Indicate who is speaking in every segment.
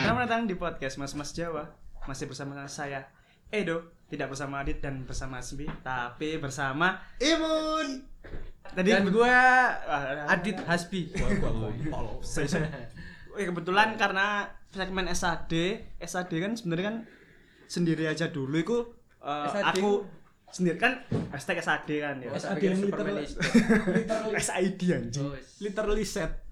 Speaker 1: Selamat datang di podcast Mas Mas Jawa. Masih bersama saya Edo, tidak bersama Adit dan bersama Asmi, tapi bersama
Speaker 2: Imun.
Speaker 1: tadi Ah,
Speaker 3: Dan-
Speaker 1: gua
Speaker 3: Adit Hasbi.
Speaker 1: Eh, kebetulan karena segmen SAD, SAD kan sebenarnya kan sendiri aja dulu itu eh,
Speaker 3: SAD.
Speaker 1: aku sendiri kan hashtag SAD kan ya.
Speaker 3: Wes,
Speaker 2: Ada
Speaker 3: pikir
Speaker 2: yang
Speaker 3: Superman
Speaker 2: literal.
Speaker 3: is-
Speaker 1: SID anjing.
Speaker 3: Oh, wes.
Speaker 2: Literally set.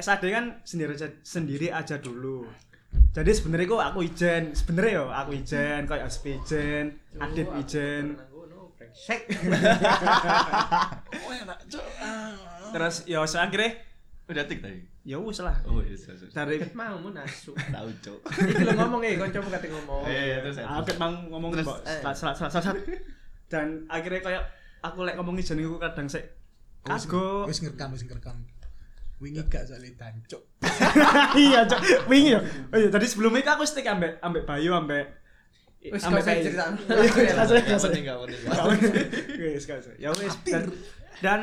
Speaker 1: SAD kan sendiri aja sendiri aja dulu. Jadi sebenarnya kok aku ijen, sebenarnya yo aku ijen, kayak Aspi ijen,
Speaker 3: Cuk,
Speaker 1: Adit
Speaker 3: aku
Speaker 1: ijen.
Speaker 3: pernah ngono, Frank.
Speaker 1: Terus yo akhirnya
Speaker 4: Udah tik tadi.
Speaker 1: ya wis lah.
Speaker 4: Oh, iya, iya, iya.
Speaker 1: Dari
Speaker 3: Ket mau mu nasu.
Speaker 4: Tahu, Cok.
Speaker 3: Iki lo ngomong eh kancamu kate ngomong.
Speaker 4: Eh, terus
Speaker 1: aku ket mang ngomong
Speaker 4: Terus,
Speaker 1: mbok
Speaker 4: eh.
Speaker 1: salah salah salah salah. Dan akhirnya kayak aku lek ngomong ijen iku kadang sik kago.
Speaker 2: Wis ngerekam, wis ngerekam. Wingi gak soalnya dancuk.
Speaker 1: iya cok wingi yo oh iya tadi sebelum itu aku stick ambek ambek Bayu ambek Iya,
Speaker 3: Wes, gak usah diceritain.
Speaker 4: Gak penting, gak penting.
Speaker 1: Wes gak usah. ya wes dan, dan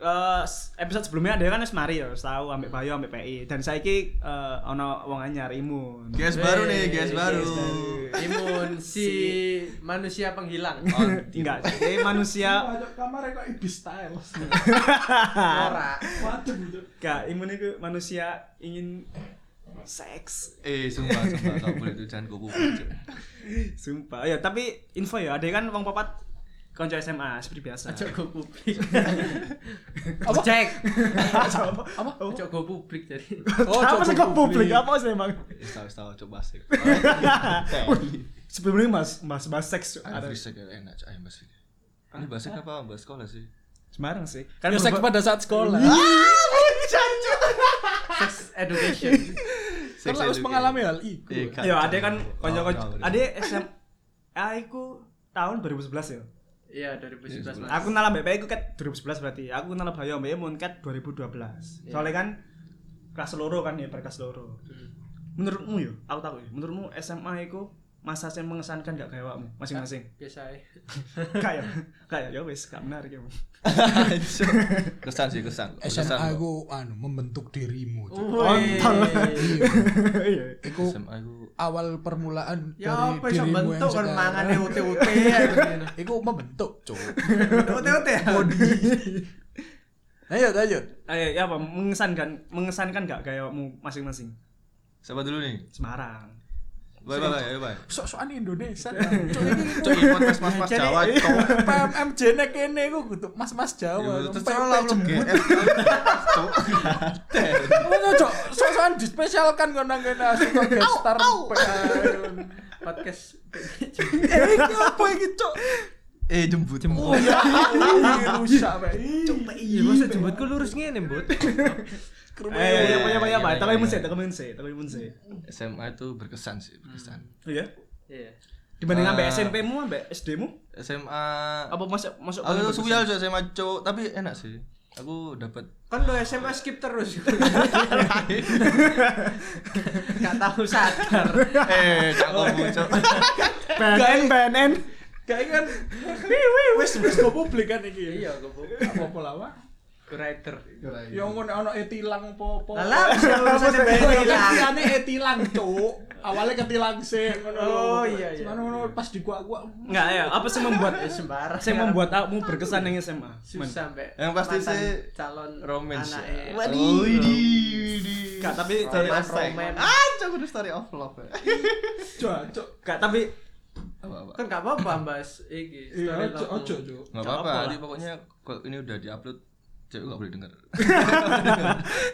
Speaker 1: eh, s- episode sebelumnya ada kan wis mari ya wis tahu ambek Bayu ambek PI dan saiki eh, ono wong anyar imun
Speaker 4: Guys baru nih, guys baru.
Speaker 3: Imun si manusia penghilang.
Speaker 1: enggak eh manusia
Speaker 2: Kamar kok ibis style.
Speaker 3: Ora.
Speaker 2: Waduh, Cuk.
Speaker 1: enggak imun itu manusia ingin seks
Speaker 4: Eh, sumpah, sumpah. Gak boleh tuh, jangan gue kumpul, Cok.
Speaker 1: sumpah ya tapi info ya ada kan wong papat konco SMA seperti biasa
Speaker 3: Ojo go publik. Apa? Cek. Apa? Ojo go publik jadi.
Speaker 1: apa sih kok Oh, publik? Apa sih emang?
Speaker 4: Eh, tahu, tahu, coba sih.
Speaker 1: Wih, Sebelum ini mas mas mas seks ada
Speaker 4: Ada bisa kayak enak, Cok. Ayo, Mas. Ini bahasa apa? Bahasa sekolah sih.
Speaker 1: Semarang sih. Kan Ah,
Speaker 2: Ya seks
Speaker 1: berubah-
Speaker 2: pada saat sekolah.
Speaker 1: Iya,
Speaker 3: Sex education.
Speaker 2: Kan lah harus mengalami hal iku.
Speaker 4: Iya, Kak.
Speaker 1: Ya ada kan konco konco.
Speaker 4: Oh,
Speaker 1: Ada SM. Aku Ah, tahun 2011 ya.
Speaker 3: Iya 2011 Mas.
Speaker 1: Aku nalar BP aku ket 2011 berarti. Aku nalar Bayu Mbak Mun ket 2012.
Speaker 3: Iya.
Speaker 1: Soalnya kan kelas loro kan ya per kelas loro. Menurutmu yo, aku tahu ya. Menurutmu SMA aku masa sing mengesankan gak kayak awakmu masing-masing?
Speaker 3: biasa ae.
Speaker 1: Kayak kayak ya wis gak menarik ya.
Speaker 4: Kesan sih, kesan. Kesan,
Speaker 2: SMA
Speaker 4: Cok.
Speaker 2: ku anu membentuk dirimu.
Speaker 3: Oh.
Speaker 2: Cuk.
Speaker 1: Ontang.
Speaker 3: Wih.
Speaker 1: Iya.
Speaker 2: Iku
Speaker 4: SMA ku-
Speaker 2: awal permulaan
Speaker 3: Ya
Speaker 2: dari
Speaker 3: apa iso
Speaker 2: dirimu yang Iya.
Speaker 3: bentuk kan mangane
Speaker 2: sekarang.
Speaker 3: ute-ute
Speaker 2: Iku membentuk, Cuk.
Speaker 3: Ute-ute ya.
Speaker 2: Ayo, ayo.
Speaker 1: Ayo, ya apa mengesankan mengesankan gak gayokmu masing-masing?
Speaker 4: Siapa dulu nih?
Speaker 1: Semarang.
Speaker 4: Bye, bye, bye, ayo, bye.
Speaker 2: Sok-sokan Indonesia.
Speaker 4: Cok, ini podcast mas-mas
Speaker 2: Jadi-
Speaker 4: Jawa, Cok.
Speaker 2: PMM jene kene iku kudu mas-mas Jawa.
Speaker 4: Terus
Speaker 2: PMM
Speaker 4: lah, lu
Speaker 2: jembut.
Speaker 4: GR, Cok. Gatel.
Speaker 2: Ngono cok, sok-sokan dispesialkan kok nang kene asik kok gestar.
Speaker 3: Podcast
Speaker 2: Eh iki apa iki cok?
Speaker 4: Eh, jembut.
Speaker 2: Oh
Speaker 3: iya.
Speaker 2: ya, ih, rusak bae.
Speaker 3: Coba iya, masa jembutku lurus ngene, Mbut.
Speaker 1: Eh, ya, ya, ya, ya,
Speaker 4: iya,
Speaker 1: Pak.
Speaker 4: iya,
Speaker 1: Tapi
Speaker 4: iya.
Speaker 1: mun sih, tapi mun sih, tapi mun sih.
Speaker 4: SMA itu berkesan sih, berkesan.
Speaker 1: Iya.
Speaker 3: Iya.
Speaker 1: Dibanding
Speaker 4: Ah.
Speaker 1: ambek SMP-mu, ambek SD-mu,
Speaker 4: SMA
Speaker 1: apa masuk masuk
Speaker 4: aku
Speaker 1: paling
Speaker 4: tuh
Speaker 1: berkesan?
Speaker 4: suyal sih SMA cowok, tapi enak sih. Aku dapat
Speaker 3: Kan lo SMA skip terus. Gak tahu sadar.
Speaker 4: eh cakep bocor.
Speaker 1: BNN BNN.
Speaker 2: Kayak kan wis wis go publik kan iki.
Speaker 3: Iya, gue bu-
Speaker 2: Apa-apa lah wah.
Speaker 3: curator.
Speaker 2: Ya ngono ana etilang popo.
Speaker 3: Lala, bisa lulusan yang
Speaker 2: Kaya
Speaker 3: beda.
Speaker 2: Kerjane etilang cok. Awalnya ketilang sih ngono. lho.
Speaker 3: Oh, iya, iya.
Speaker 2: Cuman ngono pas digua-gua.
Speaker 1: Enggak ya, apa sih membuat
Speaker 3: Ya, sembarang.
Speaker 1: sih membuat kamu berkesan yang SMA?
Speaker 3: susah sampai
Speaker 4: Yang pasti
Speaker 3: mantan
Speaker 4: sih
Speaker 3: calon
Speaker 4: romance.
Speaker 2: ya.
Speaker 4: Oh,
Speaker 3: anaknya.
Speaker 4: ya. Waduh.
Speaker 1: Enggak, tapi
Speaker 4: Story
Speaker 3: Roman,
Speaker 4: of sex.
Speaker 3: Roman.
Speaker 4: Ah, cok udah story of love. ya.
Speaker 2: Cok, cok.
Speaker 1: Enggak, tapi
Speaker 4: Apa apa.
Speaker 3: Kan gak apa-apa, Mbak. Iki
Speaker 2: Iya,
Speaker 3: story
Speaker 2: ojo,
Speaker 3: love-mu.
Speaker 2: ojo, cok.
Speaker 4: Enggak
Speaker 1: Nggak
Speaker 4: apa-apa,
Speaker 1: apa-apa
Speaker 4: nanti
Speaker 1: lah.
Speaker 4: pokoknya kalau ini udah diupload cewek nggak boleh dengar.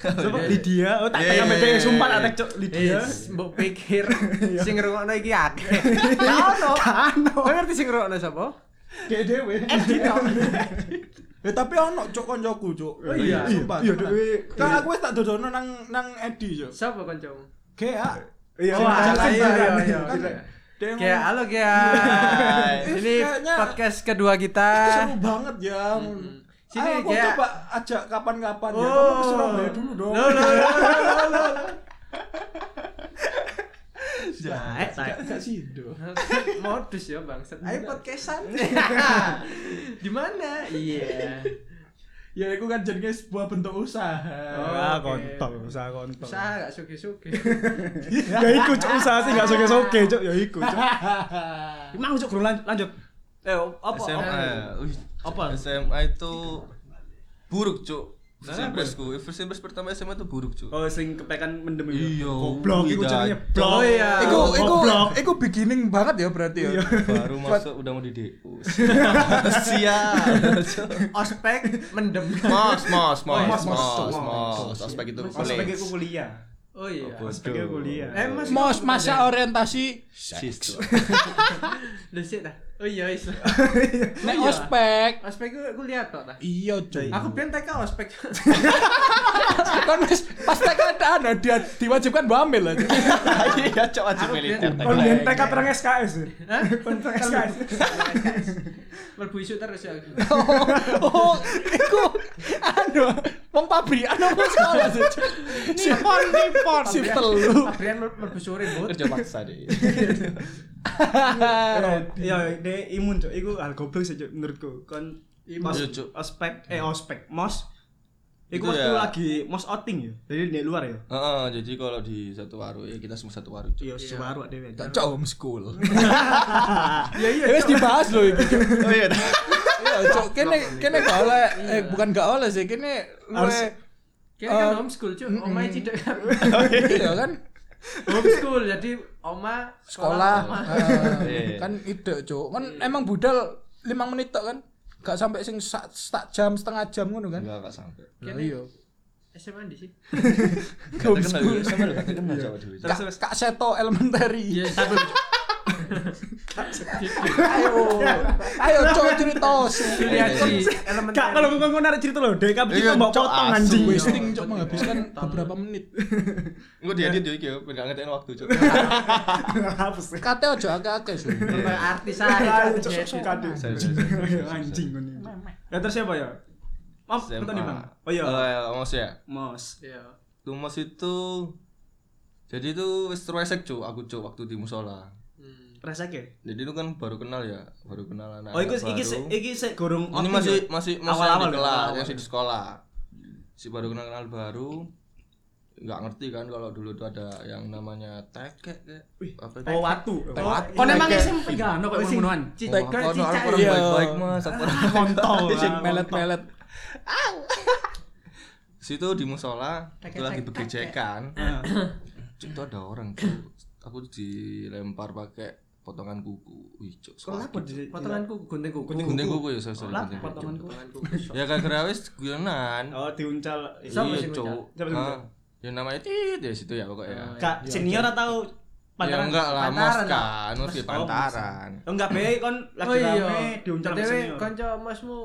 Speaker 1: coba
Speaker 3: iya.
Speaker 1: Lydia, oh tak
Speaker 4: Iya,
Speaker 1: tanya
Speaker 4: iya,
Speaker 1: beda
Speaker 4: iya,
Speaker 1: sumpah tak
Speaker 4: iya.
Speaker 1: tek cok Lydia.
Speaker 3: Iya, mbok pikir sing ngrungokno iki akeh. Gak ono. Kowe ngerti sing ngrungokno sapa?
Speaker 2: Dek dhewe. Ya Eh, tapi ono cok koncoku cok.
Speaker 3: Oh, iya.
Speaker 2: sumpah.
Speaker 1: Iya,
Speaker 2: sumpah.
Speaker 1: dhewe.
Speaker 2: Kan aku wis tak dodono nang nang Edi cok.
Speaker 3: Sapa kancamu?
Speaker 2: Gea.
Speaker 1: Iya,
Speaker 3: Oh,
Speaker 1: iya,
Speaker 3: alah, iya,
Speaker 1: iya,
Speaker 3: iya,
Speaker 1: iya.
Speaker 3: iya.
Speaker 2: Dia
Speaker 3: Gea,
Speaker 2: ngomong,
Speaker 3: halo Gea. Ini
Speaker 2: Kayaknya-
Speaker 3: podcast kedua kita.
Speaker 2: seru banget ya.
Speaker 3: Mm-mm.
Speaker 2: Sini
Speaker 3: Sini,
Speaker 2: aku
Speaker 3: Gea.
Speaker 2: coba ajak kapan-kapan ya.
Speaker 3: Oh.
Speaker 2: Kamu ke Surabaya dulu dong.
Speaker 3: Lo, lo, lo, lo, lo, lo.
Speaker 1: Eh, tak.
Speaker 2: Gak gak sido.
Speaker 3: Modus ya bangsat. Ayo podcastan. Di mana? Iya.
Speaker 2: ya itu kan jenenge sebuah bentuk usaha.
Speaker 1: Ah,
Speaker 3: oke.
Speaker 1: kontol, usaha kontol.
Speaker 3: Usaha gak suki-suki.
Speaker 1: ya iku cuk usaha sih gak soge-soge cuk, ya iku cuk. Emang cuk guru lan- lanjut. Eh, apa?
Speaker 4: SMA. Wih,
Speaker 1: Apa?
Speaker 4: SMA itu buruk, Cuk. First impressku, first impress pertama SMA itu buruk, Cuk.
Speaker 1: Oh, sering kepekan mendem
Speaker 4: Iya,
Speaker 1: Goblok iku
Speaker 4: udah.
Speaker 1: jenenge
Speaker 4: Oh,
Speaker 1: blok.
Speaker 3: iya.
Speaker 2: Iku iku
Speaker 1: Goblok.
Speaker 2: iku beginning banget ya berarti ya.
Speaker 4: Baru masuk udah mau di DU. Siap.
Speaker 3: Ospek mendem.
Speaker 4: Mos, mos, mos,
Speaker 1: mos,
Speaker 4: mos,
Speaker 1: mos, mos.
Speaker 4: mos, mos. Ospek itu
Speaker 1: Ospek
Speaker 4: kulit.
Speaker 1: iku kuliah.
Speaker 3: Oh iya.
Speaker 4: Bodoh.
Speaker 1: Ospek iku kuliah.
Speaker 3: Eh, Mas,
Speaker 2: Mos masa orientasi
Speaker 4: Sis.
Speaker 3: Lho sik dah. Oh iya wis.
Speaker 2: nek
Speaker 3: Iya.
Speaker 2: ospek.
Speaker 3: Ospek gue gue lihat tok dah.
Speaker 2: Iya, cuy.
Speaker 3: Aku pian TK ospek.
Speaker 2: Ah, kan wis pas keadaan dia diwajibkan bamil aja.
Speaker 4: Iya, Cuk, wajib militer.
Speaker 1: Kon biyen TK terang SKS. ya?
Speaker 3: Hah?
Speaker 1: Kon terang SKS.
Speaker 3: Mlebu isu terus ya aku.
Speaker 2: Oh, oh, iku anu, wong pabrik anu wong sekolah sih. Nipon, nipon. Sip telu.
Speaker 3: Pabrian mel- mlebu sore bot.
Speaker 4: Kerja paksa deh.
Speaker 1: Iya, de imun cuk. Iku hal goblok sih cuk menurutku. Kon
Speaker 3: Imun.
Speaker 1: Os-
Speaker 4: Iya, Cuk.
Speaker 1: ospek eh ospek mos Iku
Speaker 4: Itu
Speaker 1: waktu
Speaker 4: ya.
Speaker 1: lagi mos outing ya. Jadi di luar ya.
Speaker 4: Heeh, jadi kalau di satu warung ya kita semua satu warung. Cuk.
Speaker 1: Iya, sewaru dhewe.
Speaker 2: Tak cok homeschool.
Speaker 1: Iya iya.
Speaker 2: Ya wis dibahas lho iki.
Speaker 4: Oh iya. dah.
Speaker 2: Iya, cok, kene kene gak oleh
Speaker 4: Iya.
Speaker 2: eh bukan gak oleh sih, kene
Speaker 1: Harus-
Speaker 2: luwe
Speaker 3: Kira kan
Speaker 2: Eh,
Speaker 3: homeschool cuy. Omae cidak kan.
Speaker 2: iya kan
Speaker 3: Homeschool jadi oma
Speaker 2: sekolah.
Speaker 3: oma.
Speaker 4: Iya.
Speaker 2: eh, Kan ide, cok. Kan emang budal 5 menit tok kan. Gak sampai sing sak sak jam setengah jam ngono kan.
Speaker 4: Enggak enggak sampai.
Speaker 2: Lah iya.
Speaker 3: SMA di sih.
Speaker 4: Gak terkenal, iya. sama lu gak terkenal Jawa dulu.
Speaker 1: Terus
Speaker 2: Kak
Speaker 1: terus.
Speaker 2: Kak Seto elementary.
Speaker 3: tapi
Speaker 2: Ayo. Ayo cok cerita.
Speaker 3: kuliah di elemen.
Speaker 1: Kak kalau ngomong ngomong narik cerita loh, DK begitu
Speaker 4: Iya,
Speaker 1: mau
Speaker 4: cok,
Speaker 1: potong
Speaker 4: asu.
Speaker 1: anjing.
Speaker 2: Wasting cok menghabiskan beberapa menit.
Speaker 4: Gue diedit yo iki yo, ben gak ngetekin waktu, Cuk.
Speaker 1: Hapus.
Speaker 2: Kate ojo akeh-akeh sih.
Speaker 3: Kayak artis
Speaker 1: Ayo,
Speaker 3: aja.
Speaker 1: cok, suka deh.
Speaker 4: Sorry, sorry, sorry, sorry,
Speaker 1: Anjing ngono. iku. Ya terus siapa ya? Mom,
Speaker 4: SMA.
Speaker 1: bentar nih, Bang. Oh iya.
Speaker 4: Eh, Mos ya.
Speaker 1: Mos.
Speaker 3: Iya.
Speaker 4: Lumos itu jadi itu wis resek cuk aku cuk waktu di musola.
Speaker 3: Hmm.
Speaker 1: Resek ya?
Speaker 4: Jadi itu kan baru kenal ya, baru kenal anak.
Speaker 1: Oh, iku
Speaker 4: baru.
Speaker 1: iki se- iki sik gorong
Speaker 4: ini masih masih masih
Speaker 1: awal-awal
Speaker 4: di
Speaker 1: ya,
Speaker 4: kelas,
Speaker 1: awal-awal.
Speaker 4: masih di sekolah. Si baru kenal kenal baru nggak ngerti kan kalau dulu tuh ada yang namanya tekek kayak apa itu?
Speaker 1: Oh, watu.
Speaker 4: Teke.
Speaker 1: Kon emang
Speaker 2: Teke.
Speaker 1: SMP gak ono kok ngonoan.
Speaker 4: Oh,
Speaker 3: Cicak
Speaker 4: aku ada
Speaker 3: cicak.
Speaker 4: orang
Speaker 2: Iya.
Speaker 4: baik-baik mas, aku orang
Speaker 1: ya. Kontol.
Speaker 4: Sing
Speaker 1: lah, kontol.
Speaker 2: Melet-melet.
Speaker 4: situ di musola itu lagi begejekan
Speaker 1: Heeh.
Speaker 4: cuk itu ada orang cuk aku dilempar pakai potongan kuku wih cuk
Speaker 1: Kon apa di
Speaker 4: sakit.
Speaker 3: Potonganku gunting kuku.
Speaker 1: Gunting
Speaker 4: gunting kuku ya sorry sorry
Speaker 1: Lah,
Speaker 4: gunting kuku.
Speaker 1: potonganku.
Speaker 3: Potonganku.
Speaker 4: ya gak kira wis guyonan
Speaker 1: Oh, diuncal.
Speaker 3: Siapa
Speaker 4: iya
Speaker 3: sih
Speaker 4: cuk
Speaker 3: ngucap?
Speaker 1: Siapa sih
Speaker 4: Ah,
Speaker 1: ngucap?
Speaker 4: ya namanya tit ya situ ya pokoknya
Speaker 1: Kak senior atau
Speaker 4: ya
Speaker 1: pacaran?
Speaker 4: enggak iya. lah Oh, mos
Speaker 3: Pantaran,
Speaker 4: kan mos di
Speaker 1: Oh,
Speaker 4: pantaran
Speaker 1: Oh, enggak be kon lagi
Speaker 4: iya.
Speaker 1: rame diuncal sama
Speaker 3: Dewe,
Speaker 1: senior.
Speaker 3: Oh iya. kanca masmu.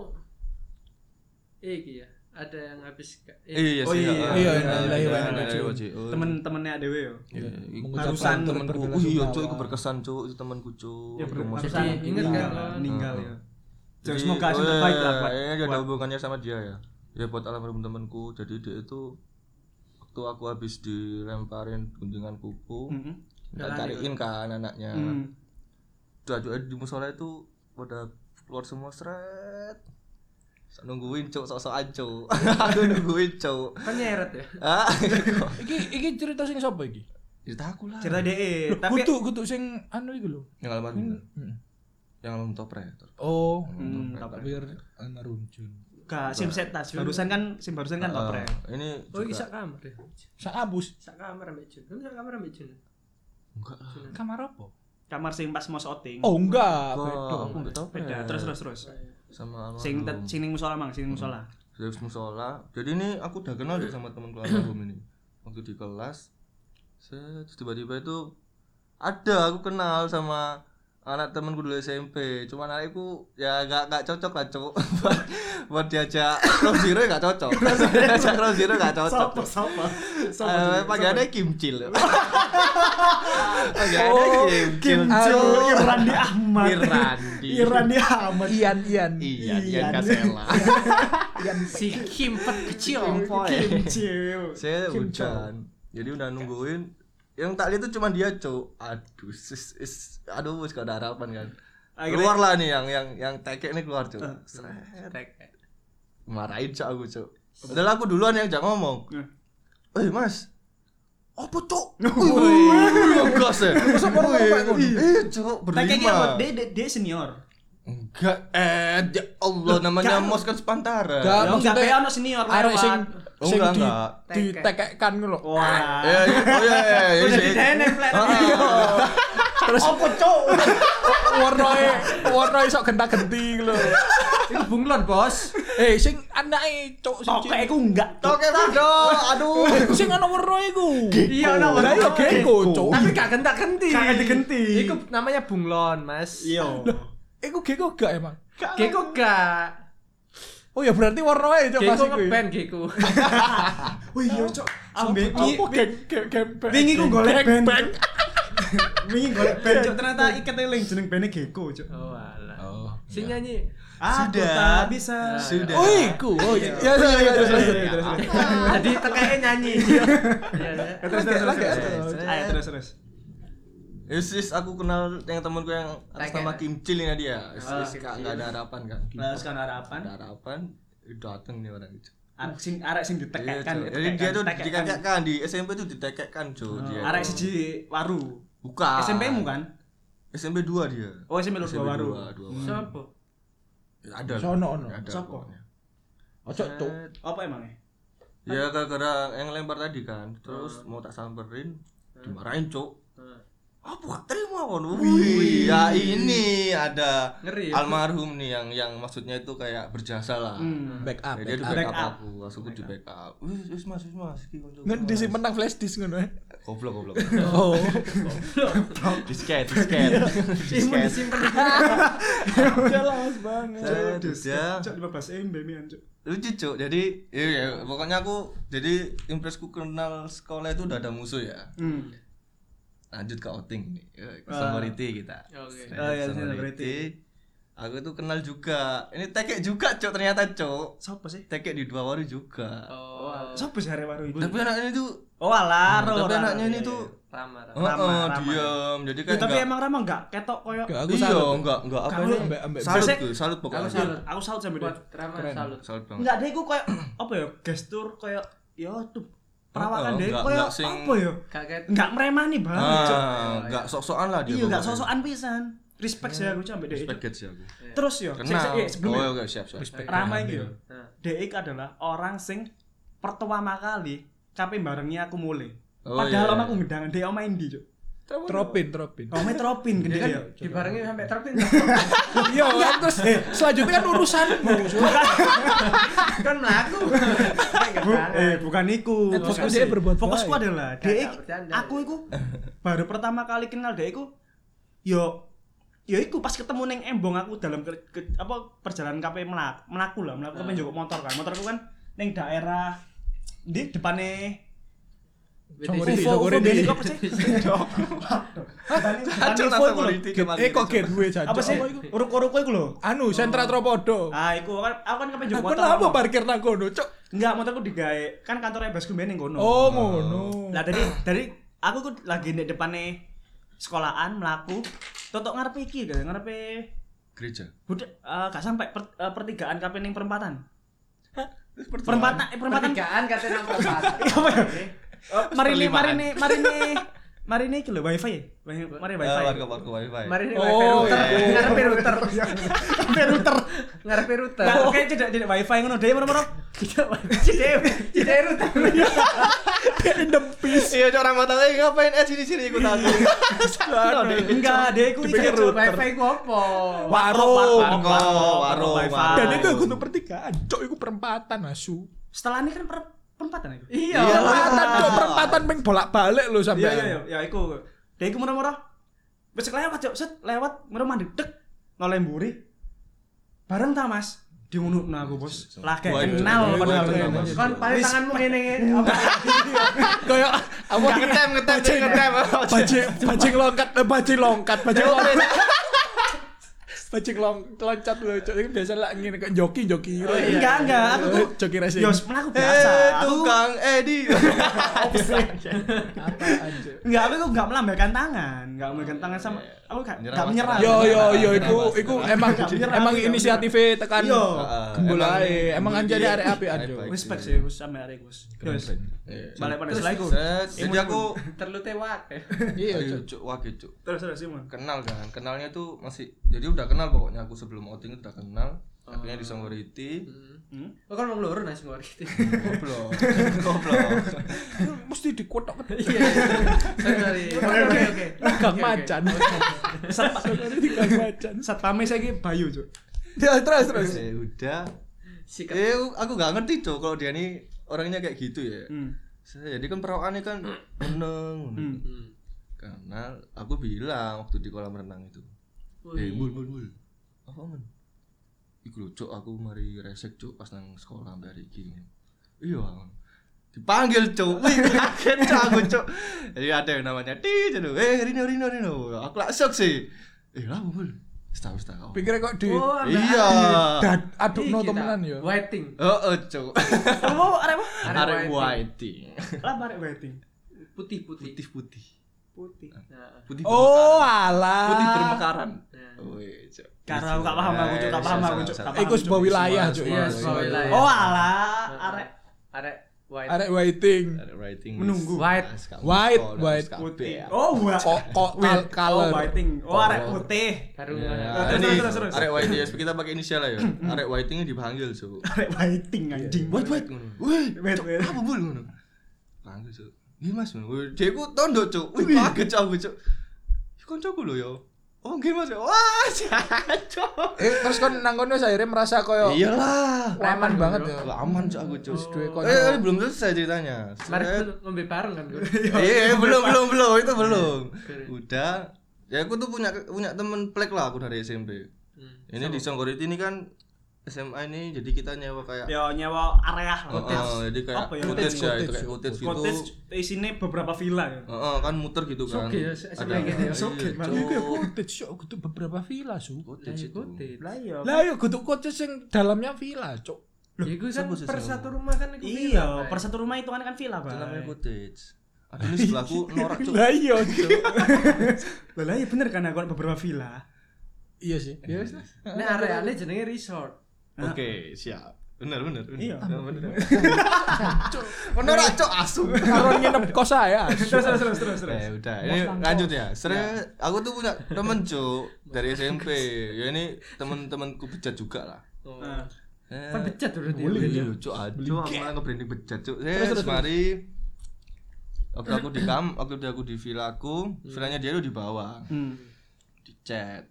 Speaker 3: Iki ya. Ada yang habis ka-
Speaker 4: iya
Speaker 3: eh,
Speaker 1: Oh,
Speaker 4: sih
Speaker 1: iya. Iya,
Speaker 4: ah, iya,
Speaker 2: iya,
Speaker 4: iya,
Speaker 2: iya, iya,
Speaker 4: iya,
Speaker 2: iya,
Speaker 4: iya, iya.
Speaker 1: Temen-temennya Dewe yo.
Speaker 4: Iya, iya.
Speaker 1: Barusan
Speaker 2: Mengucapkan
Speaker 4: temenku
Speaker 2: turut berbela
Speaker 4: iya
Speaker 2: sungkawa.
Speaker 4: cuk itu berkesan cuk itu temanku cuk
Speaker 1: Ya
Speaker 4: Itu mos.
Speaker 3: berkesan. Jadi, ingat kan,
Speaker 1: meninggal,
Speaker 3: Kon?
Speaker 1: meninggal ya. Jadi,
Speaker 4: Jadi,
Speaker 1: semoga hasil
Speaker 4: oh,
Speaker 1: terbaik
Speaker 4: iya,
Speaker 1: lah buat,
Speaker 4: iya, ada
Speaker 1: buat
Speaker 4: hubungannya sama dia ya ya buat almarhum temanku jadi dia itu waktu aku habis dilemparin guntingan kuku
Speaker 1: Mm-mm.
Speaker 4: tak cariin kan anaknya
Speaker 1: Mm.
Speaker 4: udah udah di musola itu pada keluar semua seret Sok nungguin cuk sok sokan cuk aku nungguin cuk
Speaker 3: Kan nyeret ya.
Speaker 4: ah
Speaker 2: Iki iki cerita sing sapa iki?
Speaker 4: cerita aku lah
Speaker 1: cerita DE
Speaker 2: Loh,
Speaker 1: Iya, tapi
Speaker 2: kutu kutu sing anu iku lho.
Speaker 4: yang almarhum yang almarhum topre
Speaker 2: Oh,
Speaker 1: Hmm, topre.
Speaker 2: biar almarhum Jun.
Speaker 1: Gak sim setas. Barusan kan sim barusan kan topre.
Speaker 4: Ah, ini
Speaker 3: Oh, iki
Speaker 4: juga-
Speaker 3: sak kamar. ya?
Speaker 2: Sak abus
Speaker 3: Sak kamar ambek Jun. Kamu sak kamar ambek Jun.
Speaker 4: enggak lah.
Speaker 2: kamar apa?
Speaker 1: Kamar sing pas mau outing.
Speaker 2: Oh, enggak,
Speaker 4: Enggak,
Speaker 2: beda.
Speaker 4: aku enggak topre
Speaker 1: Beda. Terus terus terus.
Speaker 3: Oh, iya.
Speaker 4: sama almarhum
Speaker 1: Sing tet- sing ning musola mang, sing ning musola.
Speaker 4: Terus musola. Jadi ini aku udah kenal ya sama temen almarhum ini. Waktu di kelas, set, terus tiba-tiba itu ada aku kenal sama anak temenku dulu SMP. Cuman anakku ya gak gak cocok lah cuk. buat, buat diajak Cross Zero ya gak cocok. diajak Cross Zero gak cocok.
Speaker 1: Sopo sopo.
Speaker 4: Eh, Panggilannya Kimcil. Panggilannya
Speaker 2: Oh,
Speaker 4: Kimcil.
Speaker 1: Jo
Speaker 4: cuk.
Speaker 1: Irandi Ahmad.
Speaker 4: Irandi.
Speaker 1: Irandi Ahmad.
Speaker 2: Ian Ian.
Speaker 4: Iya, iya Kasela.
Speaker 3: Si Kimpet kecil.
Speaker 1: Kimcil.
Speaker 4: saya hujan jadi udah nungguin yang tak lihat tuh cuma dia cok aduh sis, is, aduh wis gak ada harapan kan
Speaker 1: Akhirnya-
Speaker 4: keluar lah nih yang yang yang tekek nih keluar cok Seret. marahin cok aku cok padahal aku duluan yang jak ngomong
Speaker 1: Hmm.
Speaker 4: eh mas apa cok
Speaker 1: Wih.
Speaker 4: Wih, gas ya
Speaker 2: merokok, Kun?
Speaker 4: Wih, iya cok
Speaker 1: Nah, Kayak gini apa?
Speaker 4: berlima
Speaker 1: Dia dia- dia senior.
Speaker 4: enggak eh ya Allah namanya mos kan sepantaran
Speaker 2: Gak,
Speaker 1: Ya,
Speaker 2: maksudnya-
Speaker 1: enggak kayak ono senior
Speaker 2: Arek
Speaker 1: lewat.
Speaker 2: sing
Speaker 4: Oh,
Speaker 2: sing
Speaker 4: enggak,
Speaker 2: di
Speaker 4: enggak.
Speaker 2: ditekekan ngono lho.
Speaker 1: Wah.
Speaker 4: Ya, ya, oh ya, ya, ya,
Speaker 1: Udah
Speaker 4: sih.
Speaker 1: di DNF lah.
Speaker 2: Terus
Speaker 1: Apa cok?
Speaker 2: warnae warnae iso genta-genti lho.
Speaker 3: Itu bunglon, Bos.
Speaker 2: Eh sing anake cuk sing
Speaker 1: Tokek iku enggak.
Speaker 4: Oke, aduh, aduh.
Speaker 2: sing ana werna iku.
Speaker 1: Iya ono.
Speaker 2: Lah iya geko cuk.
Speaker 3: Tapi Oh. gak gentak-genti.
Speaker 1: Gak genti-genti.
Speaker 3: Iku namanya bunglon, Mas.
Speaker 1: Iya.
Speaker 2: Iku geko gak emang?
Speaker 3: Geko gak.
Speaker 2: Oh ya berarti warnae cuk pas
Speaker 3: Geko
Speaker 2: iku.
Speaker 3: ngeband Geko.
Speaker 1: Wih, iya cok. Ambek
Speaker 2: Apa geng geng geng-
Speaker 1: Wingi ku golek
Speaker 2: geng-
Speaker 1: band.
Speaker 2: geng.
Speaker 1: wingi golek band cok ternyata iket eling jeneng bandnya Geko cok.
Speaker 3: Oh, iya. alah.
Speaker 4: Oh.
Speaker 3: Sing nyanyi.
Speaker 1: Aku
Speaker 4: Sudah.
Speaker 1: tak bisa.
Speaker 4: Sudah.
Speaker 2: Oh iku. Oh iya. Ya ya ya terus terus.
Speaker 1: Iya, terus, terus.
Speaker 3: Jadi tekeke nyanyi. Ah. Iya, iya.
Speaker 1: Ya, terus terus
Speaker 2: Lagi,
Speaker 1: terus.
Speaker 2: lagi,
Speaker 1: terus.
Speaker 4: terus.
Speaker 1: Ayo terus terus.
Speaker 4: Yes, yes, aku kenal yang temanku yang atas
Speaker 3: Tengek.
Speaker 4: nama Kim Chil ini dia. Yes,
Speaker 3: Ah,
Speaker 4: yes,
Speaker 3: Kim
Speaker 4: Kak,
Speaker 3: Chil.
Speaker 4: nggak ada harapan kan?
Speaker 1: Oh, Nah, sekarang harapan.
Speaker 4: Ada harapan, eh, dateng nih orang itu.
Speaker 1: Arek sing arek sing
Speaker 4: Iya,
Speaker 1: ditekekkan.
Speaker 4: Cok. Jadi dia tuh
Speaker 1: ditekekkan.
Speaker 4: dikekekkan di SMP tuh dikekekkan cuy. Dia.
Speaker 1: Oh. Arek
Speaker 4: tuh.
Speaker 1: siji waru.
Speaker 4: Bukan.
Speaker 1: SMP-mu kan?
Speaker 4: SMP 2 dia.
Speaker 1: Oh, SMP lu
Speaker 4: dua,
Speaker 1: waru.
Speaker 4: dua Waru.
Speaker 3: Sopo?
Speaker 4: Ya, Ada. lah.
Speaker 2: Sono ono.
Speaker 4: Ada.
Speaker 1: Sopo?
Speaker 4: pokoknya.
Speaker 2: Ojo Oh, cuk.
Speaker 1: Apa emangnya? Kan?
Speaker 4: Ya gara-gara yang lempar tadi kan.
Speaker 1: Ah.
Speaker 4: Terus mau tak samperin, dimarahin cuk. Apa gak terima kan? Wih, ya ini ada
Speaker 3: Ngeri ya.
Speaker 4: almarhum nih yang yang maksudnya itu kayak berjasa lah.
Speaker 1: Hmm.
Speaker 2: Back up.
Speaker 4: Ya, dia di
Speaker 1: up.
Speaker 4: backup
Speaker 1: Back up.
Speaker 4: aku, langsung aku di backup. Wis, wis mas, wis mas. Ki, konco,
Speaker 2: Nggak
Speaker 4: konco,
Speaker 2: di
Speaker 4: Mas.
Speaker 2: menang flash disk ngono. ya.
Speaker 4: Goblok, goblok.
Speaker 2: Oh.
Speaker 4: Disket, disket.
Speaker 2: Iya,
Speaker 3: Imun
Speaker 4: Disket.
Speaker 3: disimpen.
Speaker 2: Jelas banget.
Speaker 4: Set, udah.
Speaker 1: Cok 15 MB mian cok.
Speaker 4: ya. lucu cuk jadi iya, iya, pokoknya aku jadi impresku kenal sekolah itu udah ada musuh ya
Speaker 1: Hmm.
Speaker 4: lanjut ke outing nih Eh, ke
Speaker 1: Ah.
Speaker 4: sorority kita
Speaker 3: Ya, Oke.
Speaker 4: Lanjut
Speaker 1: Oh, iya,
Speaker 4: sorority.
Speaker 1: sorority.
Speaker 4: aku tuh kenal juga ini tekek juga cuk ternyata cuk
Speaker 1: Sopo sih?
Speaker 4: tekek di dua waru juga
Speaker 3: Oh,
Speaker 1: Sopo sih arek waru iku?
Speaker 4: tapi anak ini tuh
Speaker 1: Oh, alah, Ro.
Speaker 4: Hmm, tapi
Speaker 1: Ro,
Speaker 4: anaknya
Speaker 1: Ro.
Speaker 4: ini tuh
Speaker 3: Rama, Rama.
Speaker 4: oh,
Speaker 1: iya, Ramah,
Speaker 4: oh,
Speaker 1: ramah.
Speaker 4: diam jadi
Speaker 1: Ya,
Speaker 4: kayak
Speaker 1: tapi
Speaker 4: enggak-
Speaker 1: emang Rama enggak ketok koyo
Speaker 2: Gak aku
Speaker 4: iya
Speaker 2: salut.
Speaker 4: enggak enggak apa
Speaker 2: Kamu
Speaker 4: ini
Speaker 2: ambek- ambek-
Speaker 4: salut
Speaker 1: Biasanya-
Speaker 4: tuh salut pokoknya
Speaker 3: Aku salut.
Speaker 1: Aku salut sama dia.
Speaker 3: Buat Rama
Speaker 2: Keren.
Speaker 3: salut.
Speaker 4: salut banget
Speaker 1: Enggak, dia iku koyo apa ya? Gestur koyo ya tuh perawakan
Speaker 4: Oh,
Speaker 1: dia
Speaker 4: enggak-
Speaker 1: koyo
Speaker 4: enggak sing-
Speaker 1: apa ya?
Speaker 3: Kaget.
Speaker 1: Enggak meremah nih banget, Cok.
Speaker 4: ah enggak sok-sokan lah dia
Speaker 1: Iya, enggak
Speaker 4: pokoknya.
Speaker 1: sosokan pisan. Respect sih aku Cok, ambek dia. Cok.
Speaker 4: Respect sih aku
Speaker 1: Terus yo, sik-
Speaker 4: kenal
Speaker 1: sik- eh,
Speaker 4: oh
Speaker 1: sebelumnya
Speaker 4: iya, oke siap siap
Speaker 1: Rama iki yo.
Speaker 3: Nah.
Speaker 1: Dek gitu. adalah orang sing pertama kali kape barengnya aku mulai.
Speaker 4: Oh,
Speaker 1: Padahal
Speaker 4: iya,
Speaker 1: om
Speaker 4: iya.
Speaker 1: aku ngedangan dia om Indi, Cuk.
Speaker 2: Tropin, tropin.
Speaker 1: Omnya
Speaker 4: Iya,
Speaker 1: teropin gede
Speaker 3: Dia
Speaker 1: kan.
Speaker 3: kan dibarengin sampai terpin.
Speaker 2: Iya, kan terus
Speaker 1: eh.
Speaker 2: selanjutnya kan urusanmu.
Speaker 1: ya.
Speaker 3: kan melaku.
Speaker 1: Bu, eh bukan iku.
Speaker 2: Eh, fokusku
Speaker 1: Bukan
Speaker 2: dia
Speaker 1: sih.
Speaker 2: berbuat
Speaker 1: Fokusku
Speaker 2: baik. Nah,
Speaker 1: adalah
Speaker 3: Gak,
Speaker 1: dia
Speaker 3: gak bercanda.
Speaker 1: aku iku baru pertama kali kenal dia iku yo yo iku pas ketemu neng embong aku dalam ke, ke- apa perjalanan KP melak melaku lah melaku
Speaker 2: Ah.
Speaker 1: kan joko motor kan motorku kan neng daerah di depannya
Speaker 2: Sorry,
Speaker 1: UFO
Speaker 2: sorry,
Speaker 1: UFO Beni
Speaker 2: sorry.
Speaker 1: kok apa sih? Depannya- depannya
Speaker 4: Cuk,
Speaker 1: UFO
Speaker 4: langsung
Speaker 1: iku lho.
Speaker 4: politik kemarin
Speaker 2: Eh kok
Speaker 4: itu.
Speaker 2: gateway jancok.
Speaker 1: Apa sih? Uruk-uruk iku lho.
Speaker 2: Anu, sentra tropodo.
Speaker 1: Ah, iku kan aku kan kepengen joko
Speaker 2: Aku
Speaker 1: motor.
Speaker 2: kenapa
Speaker 1: lama.
Speaker 2: parkir nang kono, cok?
Speaker 1: Enggak, motorku digawe. Kan kantornya Basku Beni kono.
Speaker 2: Oh, ngono.
Speaker 1: Lah dari dari aku ku lagi di depane sekolahan melaku totok ngarep iki kan ngarepe
Speaker 4: gereja
Speaker 1: budak eh, gak sampai per, eh, pertigaan kape ning perempatan.
Speaker 4: Terus
Speaker 1: Perempatan eh, perempatan
Speaker 3: Pertigaan katanya nang perempatan.
Speaker 1: Eh, marine
Speaker 4: Perlimaan.
Speaker 1: marine marine marine iki lho wifi ya? Wi- Mari
Speaker 4: Eh,
Speaker 1: wifi.
Speaker 4: warga warga wifi
Speaker 3: Mari ini
Speaker 2: Oh,
Speaker 3: wifi router.
Speaker 4: iya, iya.
Speaker 3: Ngarepe router.
Speaker 1: Sampai router.
Speaker 3: Ngarepe router.
Speaker 1: Nah, oke tidak tidak wifi ngono dhewe moro-moro. Tidak wifi.
Speaker 3: Cideu, cideu router.
Speaker 2: Dempis.
Speaker 4: iya orang mata eh ngapain eh sini sini ikut aku
Speaker 1: Enggak, deh iku
Speaker 2: Dipikir
Speaker 1: ijo.
Speaker 3: Wifi ku opo?
Speaker 1: Warung, warung,
Speaker 4: warung, warung,
Speaker 1: warung,
Speaker 4: warung.
Speaker 1: wifi.
Speaker 2: Dan itu aku untuk pertigaan. Cok, itu perempatan asu.
Speaker 1: Setelah ini kan per- perempatan iku.
Speaker 3: Iya.
Speaker 4: Iya,
Speaker 3: Pak.
Speaker 2: Perempatan cok, perempatan ping bolak-balik lho
Speaker 1: Iya
Speaker 2: sampai.
Speaker 1: iya iya, ya iku. Dia iku murah-murah. Wis lewat cok, set lewat murah mandi dek nolemburi. Bareng ta Mas? Diunukno aku, Bos. Lah kayak
Speaker 4: Waduh,
Speaker 1: kenal
Speaker 4: waduh,
Speaker 1: padahal.
Speaker 4: waduh, waduh.
Speaker 3: Kon paling tanganmu ngene apa?
Speaker 1: Iya.
Speaker 2: Kayak aku
Speaker 4: ngetem ngetem
Speaker 2: Bajing,
Speaker 4: ngetem
Speaker 2: bajing, bajing longkat, eh, bajing longkat, bajing longkat. Bajing long, loncat loh, cok. Ini biasa lah ngene kayak joki joki.
Speaker 1: Enggak, enggak. Aku tuh
Speaker 2: joki racing.
Speaker 1: iya. Eh, Yo, melaku biasa.
Speaker 4: Eh,
Speaker 1: Aku
Speaker 4: tukang Edi.
Speaker 2: Apaan, Cok?
Speaker 1: enggak, aku enggak melambaikan tangan, enggak melambaikan tangan sama aku enggak
Speaker 4: Menyerah,
Speaker 1: enggak
Speaker 4: Iya. Mas.
Speaker 1: menyerah.
Speaker 2: Yo yo yo,
Speaker 4: Nyerah,
Speaker 2: iku
Speaker 4: Mas.
Speaker 2: iku emang
Speaker 1: Nyerah,
Speaker 2: emang
Speaker 1: nyerah.
Speaker 2: inisiatifnya tekan.
Speaker 1: Yo.
Speaker 2: Gembul ae. Oh, Emang anjir arek apik aja.
Speaker 1: Respect sih Gus sama Erik Gus. Yo, wis. balik pada
Speaker 4: Terus,
Speaker 1: selaku.
Speaker 4: set, Jadi aku
Speaker 3: Terlalu tewak.
Speaker 2: Iya,
Speaker 4: Ayo,
Speaker 2: Cok.
Speaker 4: Cuk, wah gitu.
Speaker 1: Terus terus Simon.
Speaker 4: Kenal kan. Kenalnya tuh masih jadi udah kenal pokoknya aku sebelum outing itu udah kenal. Akhirnya di Songgoriti.
Speaker 1: Hmm?
Speaker 3: Lo kan mau loro nasi ngori.
Speaker 4: Goblok. Goblok.
Speaker 2: Mesti dikotok.
Speaker 3: Sorry. Oke oke oke.
Speaker 2: Gang macan. Sorry, di gang macan.
Speaker 1: Satpame saiki Bayu, Cuk.
Speaker 2: Ya, Terus terus.
Speaker 4: Eh, udah.
Speaker 3: Sikat.
Speaker 4: Eh, aku gak ngerti, Cuk, kalau dia ini orangnya kayak gitu ya.
Speaker 1: Hmm.
Speaker 4: Saya jadi kan perawakannya kan meneng.
Speaker 1: Hmm.
Speaker 3: Hmm.
Speaker 4: Karena aku bilang waktu di kolam renang itu. Eh,
Speaker 3: Wih.
Speaker 4: mul mul mul. Apa men? Iku lho, Cuk, aku mari resek, Cuk, pas nang sekolah mbak iki. Iya, Ang. dipanggil cuk Wih, kaget cuk aku cuk jadi ada yang namanya di cuk eh Rino Rino Rino aku langsung sih eh lah mul setahu setahu
Speaker 2: Pikirnya kok di
Speaker 3: Oh, ada-
Speaker 4: iya
Speaker 2: dad- aduk no
Speaker 3: Iki,
Speaker 2: temenan
Speaker 3: tak.
Speaker 2: ya. yo.
Speaker 3: Waiting.
Speaker 4: oh oh cuk
Speaker 1: Apa arek apa?
Speaker 4: arek whiting
Speaker 1: Lah arek waiting.
Speaker 3: Putih putih.
Speaker 4: putih putih
Speaker 1: Putih.
Speaker 3: Nah,
Speaker 4: putih
Speaker 2: Oh,
Speaker 4: bermekaran.
Speaker 2: alah.
Speaker 4: putih bermekaran
Speaker 3: nah.
Speaker 4: Wih, cuk
Speaker 1: ah. Ya.
Speaker 4: Iya,
Speaker 1: Karena aku gak paham aku, Cuk,
Speaker 4: Eh,
Speaker 1: gak paham aku, Cuk. Gak paham,
Speaker 2: Iku
Speaker 1: Cuk.
Speaker 2: sebuah wilayah, Cuk.
Speaker 3: Iya, sebuah wilayah.
Speaker 1: Oh, alah, arek
Speaker 3: ah, Arek white.
Speaker 2: Arek waiting.
Speaker 4: Ada writing
Speaker 1: Menunggu.
Speaker 3: White.
Speaker 2: White, white.
Speaker 4: Iya.
Speaker 1: putih. Oh, wa-
Speaker 2: Kok kok kal-
Speaker 1: Oh,
Speaker 2: color.
Speaker 1: whiting. Oh, arek putih.
Speaker 3: Baru
Speaker 4: Ya,
Speaker 1: Terus,
Speaker 4: ini
Speaker 1: terus, terus, terus.
Speaker 4: arek whiting ya, kita pakai inisial lah ya. Arek whitingnya dipanggil, Cuk.
Speaker 1: Arek whiting anjing.
Speaker 4: Wait, wait. Wih,
Speaker 1: Wait,
Speaker 4: Cuk,
Speaker 1: wait.
Speaker 4: Apa bul ngono? Panggil, Cuk. Nggih, Mas. Wih, Dia ku tondok, Cuk. Wih, kaget Cuk aku, Cuk. Ih, Koncoku lho ya. Oh, nggih, Mas. Wah, cacok.
Speaker 2: Eh, terus kan nang kono akhirnya merasa koyo
Speaker 4: Iyalah.
Speaker 2: aman banget ya.
Speaker 4: Lah, aman Cuk aku, Cuk.
Speaker 2: Terus duwe konco.
Speaker 4: Eh, eh, belum selesai ceritanya.
Speaker 3: Mari
Speaker 4: Set.
Speaker 3: dulu, ngombe bareng kan gue.
Speaker 4: Iya, iya, belum, belum, belum, itu belum. Udah. Ya aku tuh punya punya temen plek lah aku dari SMP.
Speaker 3: Hmm.
Speaker 4: Ini di Songgoriti ini kan SMA ini jadi kita nyewa kayak
Speaker 1: Yo nyewa area
Speaker 4: Oh, oh, jadi kayak
Speaker 1: Ya, Apa ya?
Speaker 4: cottage ya, itu
Speaker 2: Cottage,
Speaker 4: kayak cottage gitu.
Speaker 1: Cottage isinya beberapa villa ya.
Speaker 4: Oh, oh, kan muter gitu kan.
Speaker 3: Soge ya, SMA gitu ya.
Speaker 1: Soge
Speaker 4: Soge,
Speaker 1: banget.
Speaker 2: Iku ya cottage yo kudu beberapa villa, Su.
Speaker 4: Cottage itu.
Speaker 3: Putih.
Speaker 1: Lah iya.
Speaker 2: Lah yo kudu cottage sing dalamnya villa, Cuk.
Speaker 3: Ya gue kan
Speaker 4: siapa sih
Speaker 3: per
Speaker 4: sama?
Speaker 3: satu rumah kan iku
Speaker 1: Iya,
Speaker 3: bilang, Pak.
Speaker 1: per satu rumah itu kan kan villa,
Speaker 4: Itu
Speaker 1: Pak.
Speaker 4: namanya cottage. Ada di sebelahku norak cuk.
Speaker 2: Lah iya, Cuk.
Speaker 1: Lah lah iya bener kan aku ada beberapa villa.
Speaker 2: Iya sih.
Speaker 3: Ya wis lah. Nek areane jenenge resort.
Speaker 4: Oke, siap. Bener bener. bener.
Speaker 1: Iya.
Speaker 4: Bener, bener. Norak cuk asu.
Speaker 2: Karo nginep kos ah. saya.
Speaker 1: Terus terus terus terus. terus.
Speaker 4: Eh udah, ini lanjut ya. Serius, aku tuh punya temen cuk dari SMP. Ya ini temen-temenku bejat juga lah.
Speaker 3: Oh.
Speaker 1: Nah,
Speaker 4: Eh,
Speaker 3: Kan becat berarti.
Speaker 4: Boleh gitu, cuk aduh, aku malah ngebranding bejat cuk.
Speaker 2: Terus,
Speaker 4: Eh,
Speaker 2: terus,
Speaker 4: mari. Waktu aku di kam, waktu aku di villa aku, villanya dia tuh di bawah,
Speaker 1: Hmm.
Speaker 4: di chat.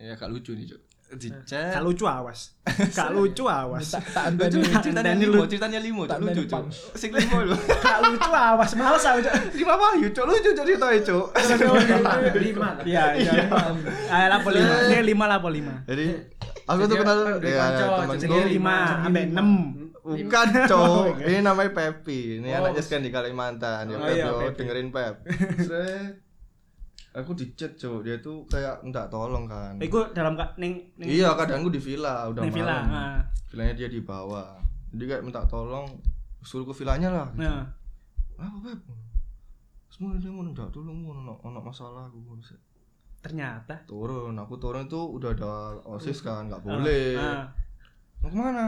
Speaker 4: Ya agak lucu nih cuk. Di chat.
Speaker 1: Gak lucu awas. Gak lucu awas.
Speaker 2: Tak tak
Speaker 4: Lucu,
Speaker 2: anteni.
Speaker 4: ceritanya
Speaker 1: Dani
Speaker 4: limo, ceritanya limo, cuk
Speaker 2: Tak
Speaker 4: lucu
Speaker 2: Dani
Speaker 4: cuk.
Speaker 2: Pang.
Speaker 4: Sing limo lho.
Speaker 1: Gak lucu awas. Males aku. Cuk.
Speaker 4: Lima payu cuk lucu cuk ceritanya cuk.
Speaker 3: Lima lah.
Speaker 1: Iya, iya. Eh. Ayo lapo lima. Ini lima lapo lima.
Speaker 4: Jadi aku tuh kenal ya temanku.
Speaker 1: Jadi lima Hmm. sampai enam.
Speaker 4: Bukan, Cok. Ini namanya Pepi. Ini anaknya sekarang di Kalimantan.
Speaker 1: iya.
Speaker 4: Ya,
Speaker 1: Oh,
Speaker 4: Pep,
Speaker 1: iya,
Speaker 4: yo.
Speaker 1: Pepi.
Speaker 4: dengerin Pep. Sret. aku dicat, Cok. Dia tuh kayak enggak tolong kan.
Speaker 1: Iku dalam ka- ning ning
Speaker 4: Iya, kadang gue di villa udah
Speaker 1: ning
Speaker 4: malam.
Speaker 1: villa. Nah,
Speaker 4: Villanya dia di bawah. Jadi kayak minta tolong suruh ke villanya lah. gitu.
Speaker 1: Nah,
Speaker 4: Apa, Pep? Semua dia mau enggak tolong, mau ono ono masalah aku.
Speaker 1: ternyata.
Speaker 4: Turun, aku turun itu udah ada OSIS kan, nggak boleh.
Speaker 1: Nah.
Speaker 4: Mau kemana?